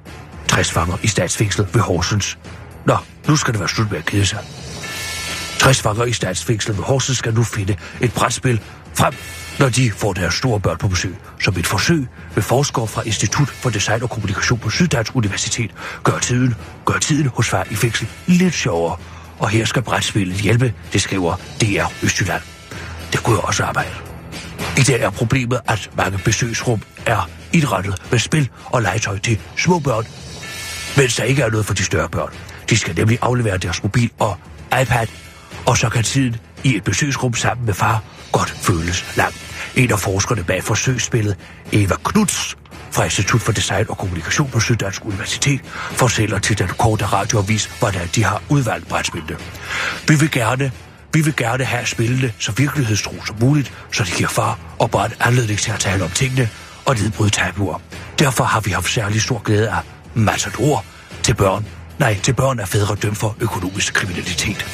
[SPEAKER 6] 60 fanger i statsfængslet ved Horsens. Nå, nu skal det være slut med at kede sig. 60 fanger i statsfængslet ved Horsens skal nu finde et brætspil frem, når de får deres store børn på besøg. Som et forsøg vil forskere fra Institut for Design og Kommunikation på Syddansk Universitet gøre tiden, gør tiden hos far i fængsel lidt sjovere. Og her skal brætspillet hjælpe, det skriver DR Østjylland. Det kunne jeg også arbejde. I dag er problemet, at mange besøgsrum er indrettet med spil og legetøj til små børn, mens der ikke er noget for de større børn. De skal nemlig aflevere deres mobil og iPad, og så kan tiden i et besøgsrum sammen med far godt føles lang. En af forskerne bag forsøgsspillet, Eva Knuds, fra Institut for Design og Kommunikation på Syddansk Universitet, fortæller til den korte radioavis, hvordan de har udvalgt brætspillene. Vi vil gerne vi vil gerne have spillene så virkelighedstro som muligt, så det giver far og børn anledning til at tale om tingene og nedbryde tabuer. Derfor har vi haft særlig stor glæde af Matador til børn. Nej, til børn er fædre dømt for økonomisk kriminalitet.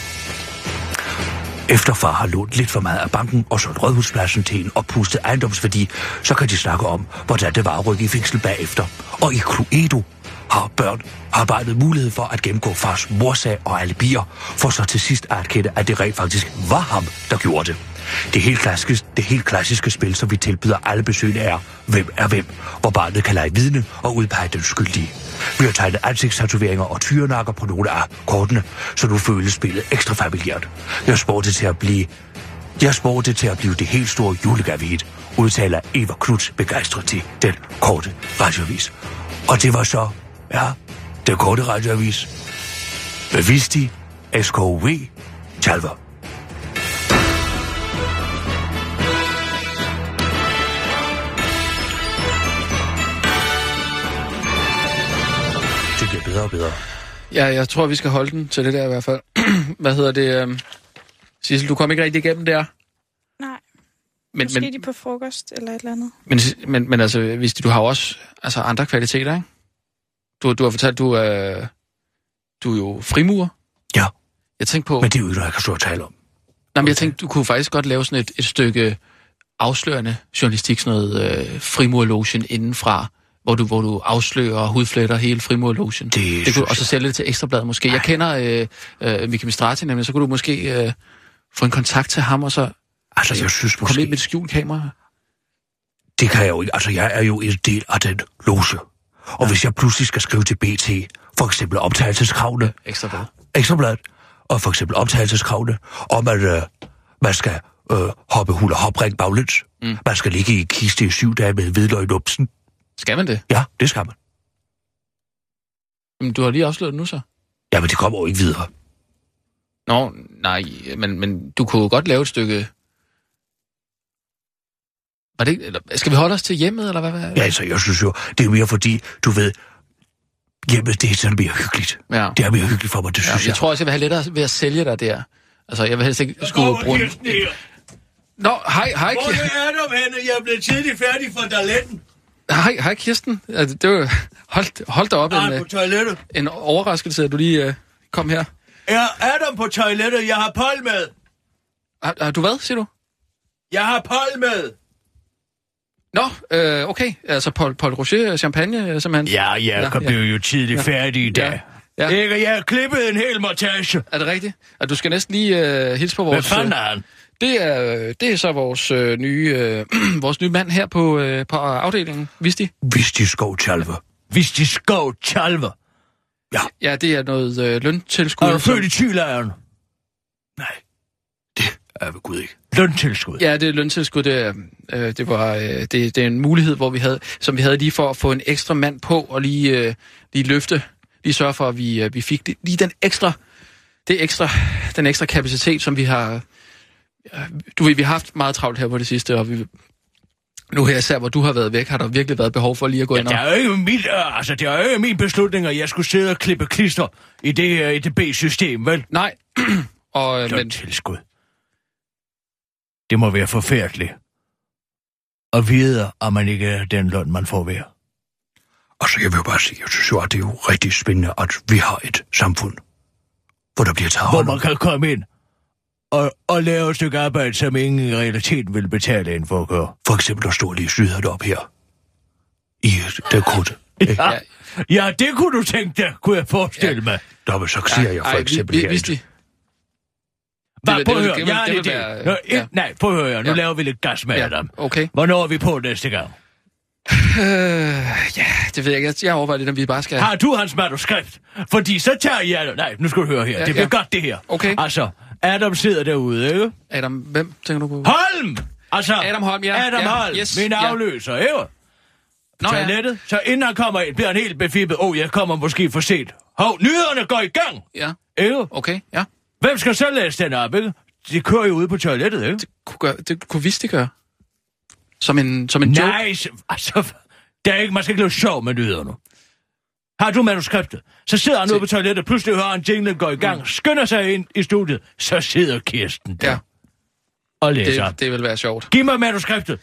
[SPEAKER 6] Efter far har lånt lidt for meget af banken og solgt rådhuspladsen til en oppustet ejendomsværdi, så kan de snakke om, hvordan det var at rykke i fængsel bagefter. Og i Cluedo har børn arbejdet mulighed for at gennemgå fars morsag og alibier, for så til sidst at erkende, at det rent faktisk var ham, der gjorde det. Det helt klassiske, det helt klassiske spil, som vi tilbyder alle besøgende er, hvem er hvem, hvor barnet kan lege vidne og udpege den skyldige. Vi har tegnet ansigtstatoveringer og tyrenakker på nogle af kortene, så nu føles spillet ekstra familiært. Jeg spår det til at blive jeg spår det til at blive det helt store julegavehit, udtaler Eva Knuds begejstret til den korte radiovis. Og det var så, ja, den korte radiovis. Bevisti, SKV,
[SPEAKER 3] Talver. Det bliver bedre og bedre.
[SPEAKER 4] Ja, jeg tror, vi skal holde den til det der i hvert fald. Hvad hedder det? øhm, Sissel, du kom ikke rigtig igennem der.
[SPEAKER 5] Nej, men,
[SPEAKER 4] Men,
[SPEAKER 5] måske men...
[SPEAKER 4] men,
[SPEAKER 5] de er på frokost eller et eller andet.
[SPEAKER 4] men, men, men altså, hvis du har jo også altså, andre kvaliteter, ikke? Du, du har fortalt, du er, du er jo frimurer.
[SPEAKER 3] Ja,
[SPEAKER 4] Jeg tænkte på...
[SPEAKER 3] men det er jo ikke noget, jeg kan stå og tale om.
[SPEAKER 4] Nej, men jeg tænkte, du kunne faktisk godt lave sådan et, et stykke afslørende journalistik, sådan noget øh, frimurlogen indenfra, hvor du, hvor du afslører og hudfletter hele frimurlogen.
[SPEAKER 3] Det
[SPEAKER 4] det kunne,
[SPEAKER 3] synes
[SPEAKER 4] og så sælge det til Ekstrabladet måske. Jeg kender øh, øh, Miki Mistrati nemlig, så kunne du måske øh, få en kontakt til ham, og så
[SPEAKER 3] Altså, jeg synes
[SPEAKER 4] komme ind
[SPEAKER 3] måske...
[SPEAKER 4] med et skjult kamera.
[SPEAKER 3] Det kan jeg jo ikke. Altså, jeg er jo en del af den loge. Og hvis jeg pludselig skal skrive til BT, for eksempel optagelseskravene,
[SPEAKER 4] Ekstrabladet.
[SPEAKER 3] ekstrabladet, og for eksempel optagelseskravene, om at øh, man skal øh, hoppe hul og hopring baglæns. Mm. Man skal ligge i kiste i syv dage med hvidløg i numsen.
[SPEAKER 4] Skal man det?
[SPEAKER 3] Ja, det skal man.
[SPEAKER 4] Men du har lige afsløret det nu så.
[SPEAKER 3] Jamen, det kommer jo ikke videre.
[SPEAKER 4] Nå, nej, men, men du kunne jo godt lave et stykke... Var det, ikke- eller, skal vi holde os til hjemmet, eller hvad? hvad?
[SPEAKER 3] Ja, altså, jeg synes jo, det er mere fordi, du ved, hjemme, det er sådan mere hyggeligt.
[SPEAKER 4] ja.
[SPEAKER 3] Det er mere hyggeligt for mig, det
[SPEAKER 4] Ja,
[SPEAKER 3] synes
[SPEAKER 4] jeg tror også, jeg vil have lettere ved at sælge dig der. Altså, jeg vil helst ikke skulle
[SPEAKER 6] Hvor er
[SPEAKER 4] bruge...
[SPEAKER 6] Kirsten her?
[SPEAKER 4] Nå, hej, hej,
[SPEAKER 6] Hvor
[SPEAKER 4] Kirsten.
[SPEAKER 6] er du henne? Jeg blev tidligt færdig fra toiletten.
[SPEAKER 4] Hej, hej, Kirsten. Altså, det var... Hold, hold da op, en,
[SPEAKER 6] Er
[SPEAKER 4] øh,
[SPEAKER 6] på toilettet?
[SPEAKER 4] en overraskelse, at du lige øh, kom her.
[SPEAKER 6] Jeg er der på toilettet. Jeg har pold med.
[SPEAKER 4] Har, har du hvad, siger du?
[SPEAKER 6] Jeg har pold med.
[SPEAKER 4] Nå, øh, okay. Altså, Paul, Paul Roger champagne, øh, simpelthen.
[SPEAKER 6] Ja, Jacob
[SPEAKER 4] Ja,
[SPEAKER 6] ja,
[SPEAKER 4] ja.
[SPEAKER 6] ja. blev jo tidligt
[SPEAKER 4] Ja.
[SPEAKER 6] ja. færdig i dag.
[SPEAKER 4] Ja.
[SPEAKER 6] Ja.
[SPEAKER 4] Ja.
[SPEAKER 6] Ja. Ikke? Jeg har klippet en hel montage.
[SPEAKER 4] Er det rigtigt? Og du skal næsten lige øh, hilse på
[SPEAKER 6] Hvad
[SPEAKER 4] vores...
[SPEAKER 6] fanden er han?
[SPEAKER 4] øh, det, er, øh, det er så vores, øh, nye, øh, vores nye mand her på, øh, på afdelingen, Visti.
[SPEAKER 3] jeg. Hvis de skov tjalve.
[SPEAKER 6] Hvis de skov tjalve.
[SPEAKER 4] Ja, det er noget øh, løntilskud.
[SPEAKER 6] Er du
[SPEAKER 4] som-
[SPEAKER 6] født i tylejren?
[SPEAKER 3] Nej, det er ved Gud ikke.
[SPEAKER 6] Løntilskud. Ja.
[SPEAKER 4] Ja, det er løntilskud. Det, er, øh, det var øh, det, det er en mulighed, hvor vi havde, som vi havde lige for at få en ekstra mand på og lige, øh, lige løfte, lige sørge for, at vi, øh, vi fik det, lige den ekstra, det ekstra, den ekstra kapacitet, som vi har. ja, Du ved, vi har haft meget travlt her på det sidste, og vi, nu her især, hvor du har været væk, har der virkelig været behov for lige at gå
[SPEAKER 6] Ja,
[SPEAKER 4] ind
[SPEAKER 6] Altså, det
[SPEAKER 4] og...
[SPEAKER 6] er jo ikke min, øh, altså, det er jo ikke min beslutning, at jeg skulle sidde og klippe klister i det uh, EDB-system, vel?
[SPEAKER 4] Nej, og, øh, men,
[SPEAKER 6] Løntilskud. Det må være forfærdeligt. Og vide, at man ikke er den løn, man får ved.
[SPEAKER 3] Altså, jeg vil jo bare sige, jeg synes jo, at det er jo rigtig spændende, at vi har et samfund, hvor der bliver taget
[SPEAKER 6] Hvor
[SPEAKER 3] hånd
[SPEAKER 6] man
[SPEAKER 3] om.
[SPEAKER 6] kan komme ind og, og lave et stykke arbejde, som ingen i realiteten vil betale en for at gøre.
[SPEAKER 3] For eksempel at stå lige syder op her. I det korte. Ja.
[SPEAKER 6] Ja. ja, det kunne du tænke dig, kunne jeg forestille ja. mig.
[SPEAKER 3] Nå, men så siger jeg for
[SPEAKER 4] ej,
[SPEAKER 3] eksempel
[SPEAKER 4] vi, vi,
[SPEAKER 3] herinde.
[SPEAKER 4] Visti,
[SPEAKER 6] Bare
[SPEAKER 4] vil-
[SPEAKER 6] prøv at
[SPEAKER 4] det vil-
[SPEAKER 6] høre,
[SPEAKER 4] det vil-
[SPEAKER 6] jeg har
[SPEAKER 4] det
[SPEAKER 6] en
[SPEAKER 4] vil
[SPEAKER 6] idé.
[SPEAKER 4] være,
[SPEAKER 6] Nå,
[SPEAKER 4] ja.
[SPEAKER 6] et- Nej, prøv at høre, nu
[SPEAKER 4] Ja.
[SPEAKER 6] laver vi lidt gas med
[SPEAKER 4] Ja,
[SPEAKER 6] Adam.
[SPEAKER 4] okay.
[SPEAKER 6] Hvornår er vi på næste gang?
[SPEAKER 4] øh, ja, det ved jeg ikke. Jeg- Jeg overvejer lidt, om vi bare skal...
[SPEAKER 6] Har du hans manuskript? Fordi så tager jeg... Nej, nu skal du høre her.
[SPEAKER 4] Ja,
[SPEAKER 6] det bliver
[SPEAKER 4] ja.
[SPEAKER 6] godt, det her.
[SPEAKER 4] Okay.
[SPEAKER 6] Altså, Adam sidder derude, ikke?
[SPEAKER 4] Adam, hvem tænker du på?
[SPEAKER 6] Holm! Altså,
[SPEAKER 4] Adam Holm, ja.
[SPEAKER 6] Adam
[SPEAKER 4] Ja,
[SPEAKER 6] Holm,
[SPEAKER 4] yes,
[SPEAKER 6] min
[SPEAKER 4] ja.
[SPEAKER 6] afløser, ikke?
[SPEAKER 4] Nå, ja.
[SPEAKER 6] toilettet, så inden han kommer ind, bliver han helt befippet. Åh, oh, jeg kommer måske for sent. Hov, nyhederne går i gang!
[SPEAKER 4] Ja,
[SPEAKER 6] Ikke?
[SPEAKER 4] okay, ja.
[SPEAKER 6] Hvem skal så læse den op, ikke? De kører jo ude på toilettet, ikke?
[SPEAKER 4] kunne, gøre, det kunne Visti gøre. Som en, som en joke.
[SPEAKER 6] Nej, så- altså, der er ikke, man skal ikke lave sjov med nyhederne. Har du manuskriptet? Så sidder han ude på toilettet, pludselig hører han jinglen går i
[SPEAKER 3] Mm.
[SPEAKER 6] gang, skynder sig ind i studiet, så sidder Kirsten der
[SPEAKER 4] Ja,
[SPEAKER 6] og læser.
[SPEAKER 4] det, det vil være sjovt.
[SPEAKER 6] Giv mig manuskriptet.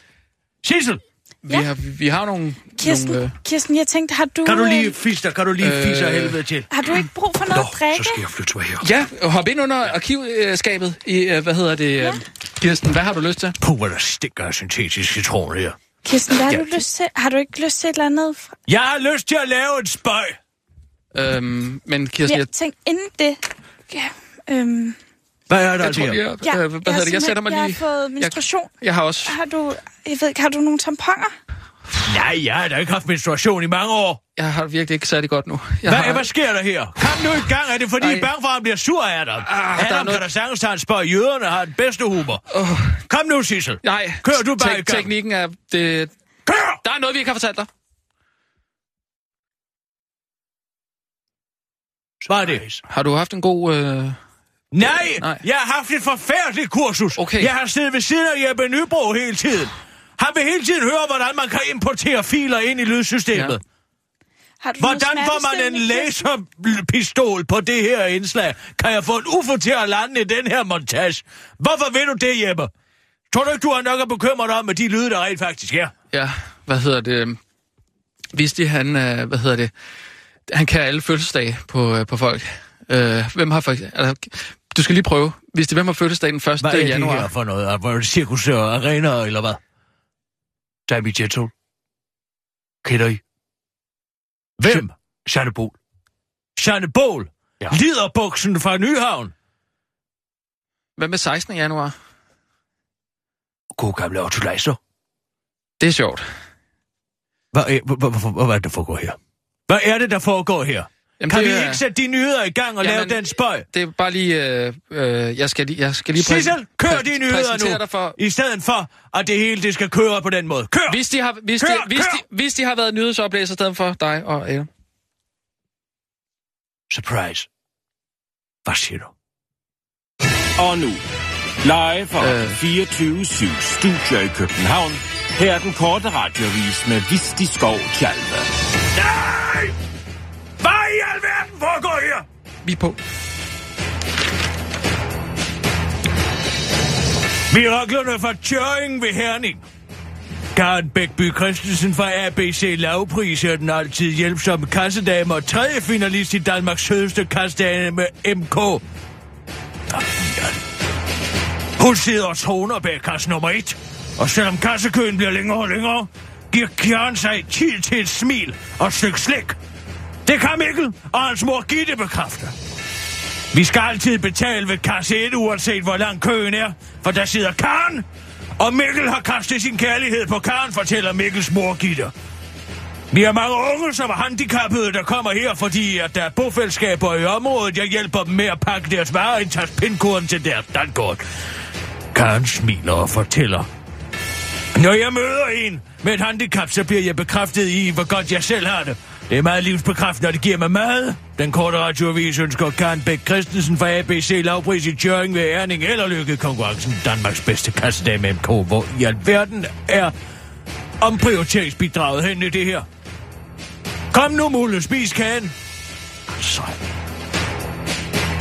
[SPEAKER 6] Sissel,
[SPEAKER 4] Vi, har, vi har nogle...
[SPEAKER 5] Kirsten,
[SPEAKER 4] nogle øh,
[SPEAKER 5] Kirsten, jeg tænkte, har du,
[SPEAKER 6] kan du
[SPEAKER 5] øh,
[SPEAKER 6] lige fisse, kan du lige
[SPEAKER 4] Øh.
[SPEAKER 6] fisse af helvede til?
[SPEAKER 5] har du ikke brug for noget
[SPEAKER 3] Nå,
[SPEAKER 5] at drikke?
[SPEAKER 3] så skal jeg flytte mig her.
[SPEAKER 4] ja, hop ind under arkivskabet i, øh, hvad hedder det, ja. Kirsten, hvad har du lyst til?
[SPEAKER 3] Puh, hvor der stinker af syntetisk citron her.
[SPEAKER 5] Kirsten, hvad har, du lyst til? har du ikke lyst til et eller andet?
[SPEAKER 4] Altså,
[SPEAKER 5] Fra...
[SPEAKER 6] Jeg har lyst til at lave en spøj.
[SPEAKER 4] Øhm, men Kirsten,
[SPEAKER 5] Ja,
[SPEAKER 4] ja. jeg,
[SPEAKER 5] tænk inden det. Ja, øhm,
[SPEAKER 6] Hvad er der
[SPEAKER 4] jeg tror,
[SPEAKER 6] der?
[SPEAKER 4] jeg, jeg,
[SPEAKER 5] ja,
[SPEAKER 4] hvad hedder det, jeg sætter mig
[SPEAKER 5] jeg har
[SPEAKER 4] lige...
[SPEAKER 5] simpelthen- Jeg har fået menstruation.
[SPEAKER 4] Jeg har også...
[SPEAKER 5] Har du, jeg ved ikke, har du nogle tamponer?
[SPEAKER 6] Nej, jeg har da ikke haft menstruation i mange år.
[SPEAKER 4] Jeg har det virkelig ikke særlig godt nu. Jeg
[SPEAKER 6] Hvad,
[SPEAKER 4] har,
[SPEAKER 6] hvad sker der her? Kom nu i gang. Er det fordi,
[SPEAKER 4] Nej.
[SPEAKER 6] I er bange for, at han bliver sur af dig?
[SPEAKER 4] Ah, der er
[SPEAKER 6] Adam
[SPEAKER 4] noget-
[SPEAKER 6] kan da sagtens tage en spørg. Jøderne har den bedste humor. Kom nu, Sissel.
[SPEAKER 4] Nej,
[SPEAKER 6] Kør du bare i gang.
[SPEAKER 4] teknikken er... Det,
[SPEAKER 6] Kør!
[SPEAKER 4] der er noget, vi ikke har fortalt dig.
[SPEAKER 6] Hvad er det?
[SPEAKER 4] Har du haft en god øh,
[SPEAKER 6] Nej,
[SPEAKER 4] Nej.
[SPEAKER 6] Nej, jeg har haft et forfærdeligt kursus.
[SPEAKER 4] Okay.
[SPEAKER 6] Jeg har siddet ved siden af Jeppe Nybro hele tiden. Han vil hele tiden høre, hvordan man kan importere filer ind i lydsystemet.
[SPEAKER 4] Ja.
[SPEAKER 6] Ja.
[SPEAKER 5] Har du noget
[SPEAKER 6] Hvordan får man en
[SPEAKER 5] smertestillende, Kirsten?
[SPEAKER 6] laserpistol på det her indslag? Kan jeg få en UFO til at lande i den her montage? Hvorfor vil du det, Jeppe? Tror du ikke, du har nok at bekymre dig om med de lyde, der rent faktisk er?
[SPEAKER 4] Ja, hvad hedder det? Vidste de, han, øh, hvad hedder det? Han kan alle fødselsdage på, øh, på folk. Øh, hvem har for altså, Du skal lige prøve. Vidste de, hvem har fødselsdag den 1.
[SPEAKER 6] Hvad er det
[SPEAKER 4] januar?
[SPEAKER 6] her for noget? Er det cirkus og arena, eller hvad? Sammy Jetson. Kender I? Hvem? Sanne Bol. Sanne Bol? Ja. Liderbuksen fra Nyhavn.
[SPEAKER 4] Hvad med 16. januar?
[SPEAKER 6] God gamle Otto Leisner.
[SPEAKER 4] Det er sjovt.
[SPEAKER 6] Hvad er, hvad, hvad, hvad, hvad er det, der foregår her? Hvad er det, der foregår her?
[SPEAKER 4] Jamen,
[SPEAKER 6] Jamen, kan
[SPEAKER 4] det
[SPEAKER 6] vi
[SPEAKER 4] er-
[SPEAKER 6] ikke sætte de nyheder i gang og
[SPEAKER 4] Jamen,
[SPEAKER 6] Jamen, lave den spøj?
[SPEAKER 4] Det er bare lige... Øh, øh, jeg, skal lige jeg skal lige præ-
[SPEAKER 6] Sissel, kør
[SPEAKER 4] præ-
[SPEAKER 6] de nyheder
[SPEAKER 4] præsentere
[SPEAKER 6] nu,
[SPEAKER 4] Dig for,
[SPEAKER 6] i stedet for, at det hele det skal køre på den måde. Kør!
[SPEAKER 4] hvis, de har, hvis,
[SPEAKER 6] Kør,
[SPEAKER 4] de, hvis,
[SPEAKER 6] kør!
[SPEAKER 4] De, hvis de har været nyhedsoplæser i stedet for dig og Adam.
[SPEAKER 6] Surprise. Hvad siger du?
[SPEAKER 8] Og nu, live fra
[SPEAKER 4] Øh.
[SPEAKER 8] øh. 24-7 Studio i København. Her er den korte radiovis med Visti Skov Tjalve.
[SPEAKER 6] Nej! Hvad i alverden foregår her?
[SPEAKER 4] Vi er på.
[SPEAKER 6] Miraklerne fra Tjøring ved Herning. Karen Bækby Christensen fra ABC Lavpris er den altid hjælpsomme kassedame og tredje finalist i Danmarks sødeste kassedame med MK. Hun sidder og troner bag kasse nummer et. Og selvom kassekøen bliver længere og længere, giver Kjørn sig tid til et smil og et stykke slik. Det kan Mikkel og hans mor Gitte bekræfte. Vi skal altid betale ved kasse 1, uanset hvor lang køen er, for der sidder Karen. Og Mikkel har kastet sin kærlighed på Karen, fortæller Mikkels mor Gitte. Vi har mange unge, som er handicappede, der kommer her, fordi at der er bofællesskaber i området. Jeg hjælper dem med at pakke deres varer ind, tager pindkoden til deres dankort. Karen smiler og fortæller. Når jeg møder en med et handicap, så bliver jeg bekræftet i, hvor godt jeg selv har det. Det er meget livsbekræftende, og det giver mig meget. Den korte radioavis ønsker Karen Bæk Christensen fra ABC lavpris i Tjøring ved Erning eller lykke i konkurrencen. Danmarks bedste kassedag med MK, hvor i alverden er omprioriteringsbidraget hen i det her. Kom nu, Mulle, spis kagen. Så.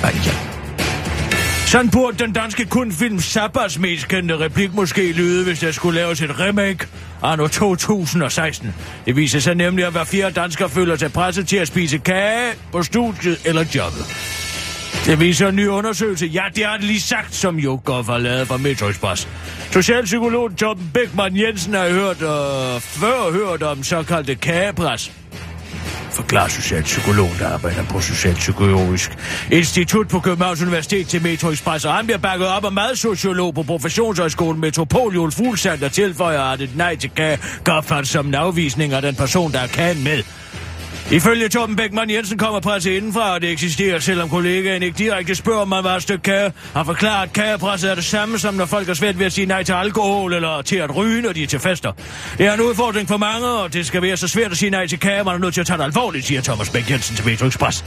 [SPEAKER 6] Ej, ja. Sådan burde den danske kunstfilm Sabbas mest kendte replik måske lyde, hvis der skulle laves et remake anno 2016. Det viser sig nemlig, at hver fjerde dansker føler sig presset til at spise kage på studiet eller jobbet. Det viser en ny undersøgelse. Ja, det har det lige sagt, som jo godt var lavet fra Metro Express. Socialpsykolog Torben Beckmann Jensen har hørt, øh, før hørt om såkaldte kagepres forklarer socialpsykologen, der arbejder på Socialpsykologisk Institut på Københavns Universitet til Metro Express, og han bliver bakket op af madsociolog på Professionshøjskolen Metropol, Joel Fuglsand, der tilføjer, at et nej til kage kan opfattes som en afvisning af den person, der er kagen med. Ifølge Torben Beckmann Jensen kommer presset indenfra, og det eksisterer, selvom kollegaen ikke direkte spørger, om man var et stykke kage, og forklarer, at kagepresset er det samme, som når folk er svært ved at sige nej til alkohol eller til at ryge, når de er til fester. Det er en udfordring for mange, og det skal være så svært at sige nej til kage, man er nødt til at tage det alvorligt, siger Thomas Bæk Jensen til Metro Express.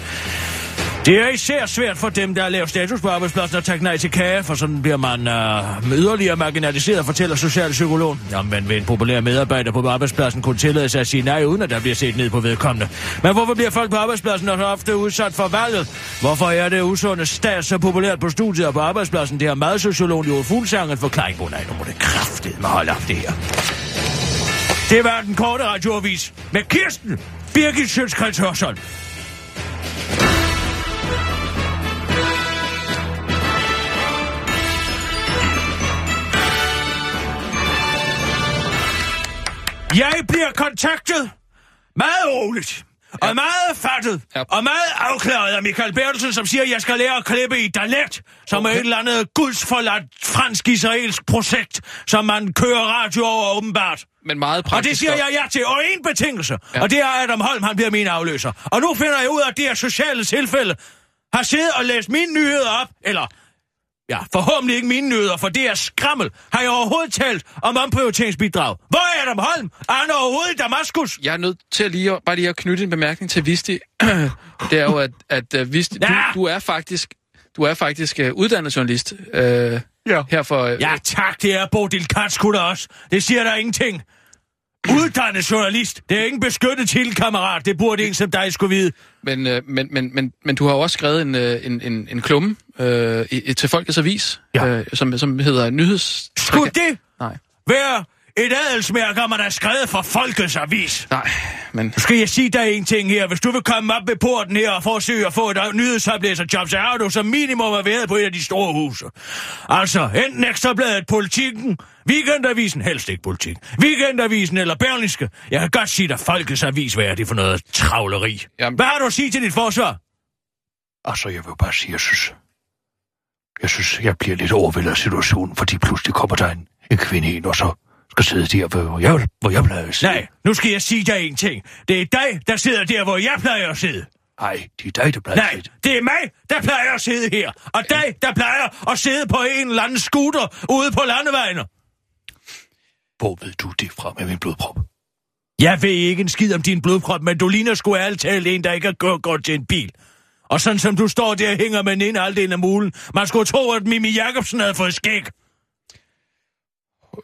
[SPEAKER 6] Det er især svært for dem, der er lav status på arbejdspladsen at takke nej til kage, for sådan bliver man øh, yderligere marginaliseret, fortæller socialpsykologen. Omvendt vil en populær medarbejder på arbejdspladsen kunne tillade sig at sige nej, uden at der bliver set ned på vedkommende. Men hvorfor bliver folk på arbejdspladsen så ofte udsat for valget? Hvorfor er det usunde stat så populært på studiet og på arbejdspladsen? Det har madsociologen Joel Fuglsang en forklaring på. Nej, nu må det kraftedeme holde op det her. Det var den korte radioavis med Kirsten Birgit Sjøtskrets Hørsholm. Jeg bliver kontaktet meget roligt. Og meget fattet.
[SPEAKER 4] Ja.
[SPEAKER 6] Og meget afklaret af Michael Bertelsen, som siger, at jeg skal lære at klippe i Dalet, som okay. er et eller andet gudsforladt fransk-israelsk projekt, som man kører radio over åbenbart.
[SPEAKER 4] Men meget
[SPEAKER 6] Og
[SPEAKER 4] praktisk.
[SPEAKER 6] det siger
[SPEAKER 4] stof.
[SPEAKER 6] jeg ja til, og en betingelse.
[SPEAKER 4] Ja.
[SPEAKER 6] Ja. Og det er Adam Holm, han bliver min afløser. Og nu finder jeg ud af, at det her sociale tilfælde har siddet og læst mine nyheder op, eller ja, forhåbentlig ikke mine nyheder, for det er skrammel. Har jeg overhovedet talt om omprioriteringsbidrag? Hvor er Adam Holm? Er han overhovedet i Damaskus?
[SPEAKER 4] Jeg er nødt til at lige, bare lige at knytte en bemærkning til Visti. det er jo, at, at uh, Visti, du,
[SPEAKER 6] Ja.
[SPEAKER 4] du er faktisk... Du er faktisk øh, uddannet journalist øh, ja. her for... Øh,
[SPEAKER 6] Ja tak, det er Bodil Katskud også. Det siger der ingenting. Uddannet journalist. Det er ingen beskyttet til, kammerat. Det burde en som dig skulle vide.
[SPEAKER 4] Men, øh, men, men, men, men du har jo også skrevet en, øh, en, en, en klumme øh, i, i- til Folkets Avis, ja. øh, som, som hedder Nyheds...
[SPEAKER 6] Skulle det
[SPEAKER 4] Nej,
[SPEAKER 6] være et adelsmærke, om man er skrevet for Folkets Avis?
[SPEAKER 4] nej, men...
[SPEAKER 6] Nu skal jeg sige dig en ting her. Hvis du vil komme op ved porten her og forsøge at få et nyhedsoplæserjob, så har du som minimum at være på et af de store huse. Altså, enten Ekstrabladet, Politikken, Weekendavisen, helst ikke Politik, Weekendavisen eller Berlingske. Jeg kan godt sige dig, Folkets Avis, hvad er det for noget travleri?
[SPEAKER 4] Jamen-
[SPEAKER 6] Jamen. Hvad har du at sige til dit forsvar?
[SPEAKER 3] Altså, jeg vil bare sige, jeg synes, jeg synes, jeg bliver lidt overvældet af situationen, fordi pludselig kommer der en, en kvinde ind, og så skal sidde der, hvor jeg, hvor jeg plejer at sidde.
[SPEAKER 6] Nej, nu skal jeg sige dig en ting. Det er dig, der sidder der, hvor jeg plejer at sidde.
[SPEAKER 3] Nej, det er dig, der plejer at
[SPEAKER 6] Nej,
[SPEAKER 3] sidde.
[SPEAKER 6] det er mig, der plejer at sidde her. Og dig, der plejer at sidde på en eller anden scooter ude på landevejen.
[SPEAKER 3] Hvor ved du det fra med min blodprop?
[SPEAKER 6] Jeg ved ikke en skid om din blodprop, men du ligner sgu ærligt talt en, der ikke har kørt godt til en bil. Og sådan som du står der, hænger med den ene halvdelen af mulen. Man skulle tro, at Mimi Jacobsen havde fået skæg.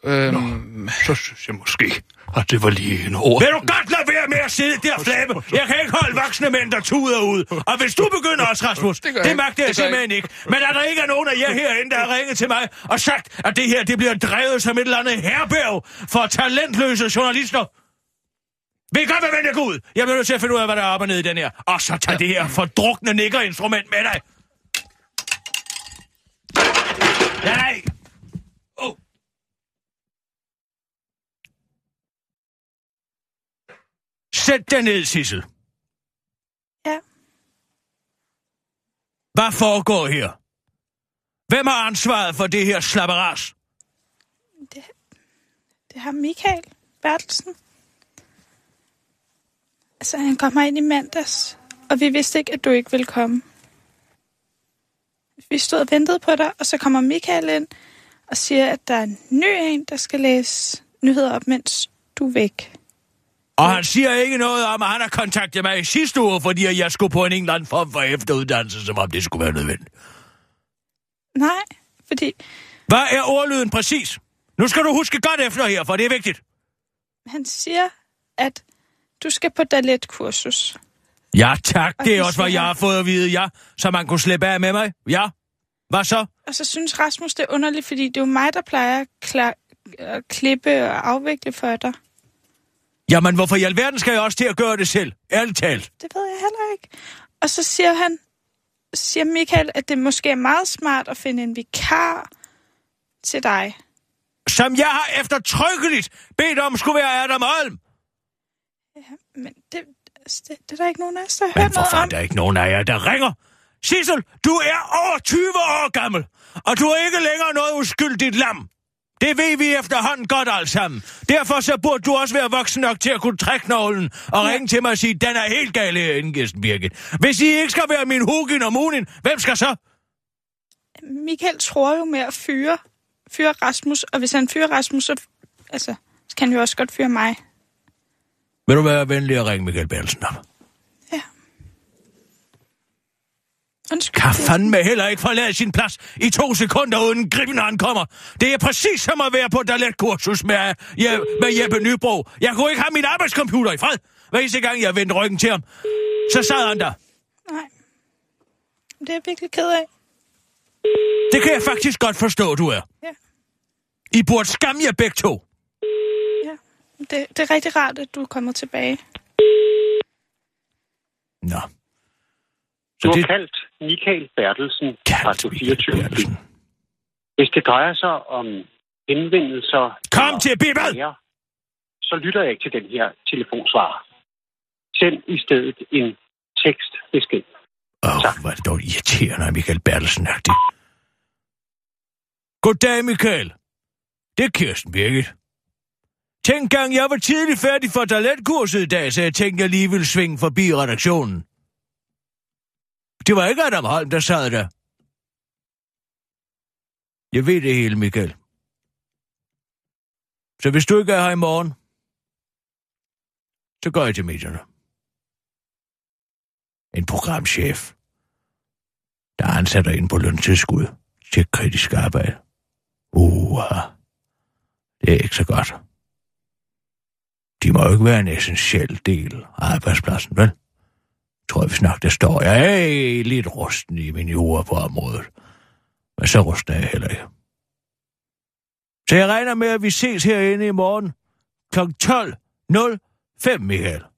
[SPEAKER 4] Øhm,
[SPEAKER 3] Så synes jeg måske, at det var lige en ord.
[SPEAKER 6] Vil du godt lade være med at sidde der, flabe? Jeg kan ikke holde voksne mænd, der tuder ud. Og hvis du begynder også, Rasmus,
[SPEAKER 4] Det gør jeg
[SPEAKER 6] det
[SPEAKER 4] ikke.
[SPEAKER 6] magter jeg
[SPEAKER 4] Det gør jeg
[SPEAKER 6] simpelthen ikke. Men er der ikke er nogen af jer herinde, der har ringet til mig og sagt, at det her det bliver drevet som et eller andet herberg for talentløse journalister? Ved I godt, hvad venter går ud? Jeg bliver nødt til at finde ud af, hvad der er op og ned i den her. Og så tag det her fordrukne nikkerinstrument med dig. Nej! Oh. Sæt dig ned, Sissel.
[SPEAKER 5] Ja.
[SPEAKER 6] Hvad foregår her? Hvem har ansvaret for det her slapperas?
[SPEAKER 5] Det har Michael Bertelsen. Altså, han kommer ind i mandags, og vi vidste ikke, at du ikke ville komme. Vi stod og ventede på dig, og så kommer Michael ind og siger, at der er en ny en, der skal læse nyheder op, mens du er væk.
[SPEAKER 6] Og han siger ikke noget om, at han har kontaktet mig i sidste uge, fordi at jeg skulle på en eller anden form for efteruddannelse, som om det skulle være nødvendigt.
[SPEAKER 5] Nej, fordi
[SPEAKER 6] Hvad er ordlyden præcis? Nu skal du huske godt efter her, for det er vigtigt.
[SPEAKER 5] han siger, at du skal på daletkursus.
[SPEAKER 6] Ja, tak.
[SPEAKER 5] Og
[SPEAKER 6] Det er
[SPEAKER 5] det
[SPEAKER 6] også, hvad
[SPEAKER 5] siger
[SPEAKER 6] jeg har
[SPEAKER 5] han.
[SPEAKER 6] fået at vide, ja. Så man kunne slippe af med mig. Ja. Hvad så?
[SPEAKER 5] Og så synes Rasmus, det er underligt, fordi det er jo mig, der plejer at, kla- at klippe og afvikle for dig.
[SPEAKER 6] Jamen, hvorfor i alverden skal jeg også til at gøre det selv? Ærligt talt.
[SPEAKER 5] det ved jeg heller ikke. Og så siger han, siger Michael, at det måske er meget smart at finde en vikar til dig.
[SPEAKER 6] Som jeg har eftertrykkeligt bedt om skulle være Adam Holm.
[SPEAKER 5] Men det, altså, det, det er der ikke nogen af os, der har
[SPEAKER 6] Men
[SPEAKER 5] hørt
[SPEAKER 6] hvorfor er
[SPEAKER 5] noget
[SPEAKER 6] der
[SPEAKER 5] om.
[SPEAKER 6] ikke nogen af jer, der ringer? Sissel, du er over 20 år gammel, og du er ikke længere noget uskyldigt lam. Det ved vi efterhånden godt alt sammen. Derfor så burde du også være voksen nok til at kunne trække knoglen og ja. ringe til mig og sige, den er helt gal herinde, Kirsten Birgit. Hvis I ikke skal være min hugin og munin, hvem skal så?
[SPEAKER 5] Michael tror jo med at fyre, fyre Rasmus, og hvis han fyrer Rasmus, så, altså, så kan han jo også godt fyre mig.
[SPEAKER 6] Vil du være venlig at ringe Michael Bertelsen op?
[SPEAKER 5] Undskyld.
[SPEAKER 6] Kan
[SPEAKER 5] det-
[SPEAKER 6] fandme heller ikke forlade sin plads i to sekunder, uden griben ankommer. Det er præcis som at være på et daletkursus med, je, med Jeppe Nybro. Jeg kunne ikke have min arbejdscomputer i fred. Hver eneste gang, jeg vendte ryggen til ham, så sad han der.
[SPEAKER 5] Nej. Det er jeg virkelig ked af.
[SPEAKER 6] Det kan jeg faktisk godt forstå, du er.
[SPEAKER 5] Ja.
[SPEAKER 6] I burde skamme jer begge to.
[SPEAKER 5] Ja. Det, det er rigtig rart, at du er kommet tilbage.
[SPEAKER 6] Nå.
[SPEAKER 8] Du
[SPEAKER 6] Så
[SPEAKER 8] har
[SPEAKER 6] det
[SPEAKER 8] kaldt Michael Bertelsen,
[SPEAKER 6] kaldt
[SPEAKER 8] Radio
[SPEAKER 6] Michael
[SPEAKER 8] 24.
[SPEAKER 6] Bertelsen.
[SPEAKER 8] Hvis det drejer sig om henvendelser...
[SPEAKER 6] Kom
[SPEAKER 8] eller
[SPEAKER 6] til bibbet!
[SPEAKER 8] klager, Så lytter jeg ikke til den her telefonsvar. Send i stedet en tekstbesked.
[SPEAKER 6] Åh, oh, hvor er det dog irriterende, at Michael Bertelsen er det. Goddag, Michael. Det er Kirsten Birgit. Tænk gang, jeg var tidligt færdig for talentkurset i dag, så jeg tænkte, jeg lige ville svinge forbi redaktionen. Det var ikke Adam Holm, der sad der. Jeg ved det hele, Michael. Så hvis du ikke er her i morgen, så går jeg til medierne en programchef, der ansætter en på løntilskud til kritisk arbejde. Uh, det er ikke så godt. De må jo ikke være en essentiel del af arbejdspladsen, vel? Tror jeg, vi snakker, der står jeg er lidt rusten i mine jord på området. Men så rusten er jeg heller ikke. Så jeg regner med, at vi ses herinde i morgen kl. 12.05, Michael.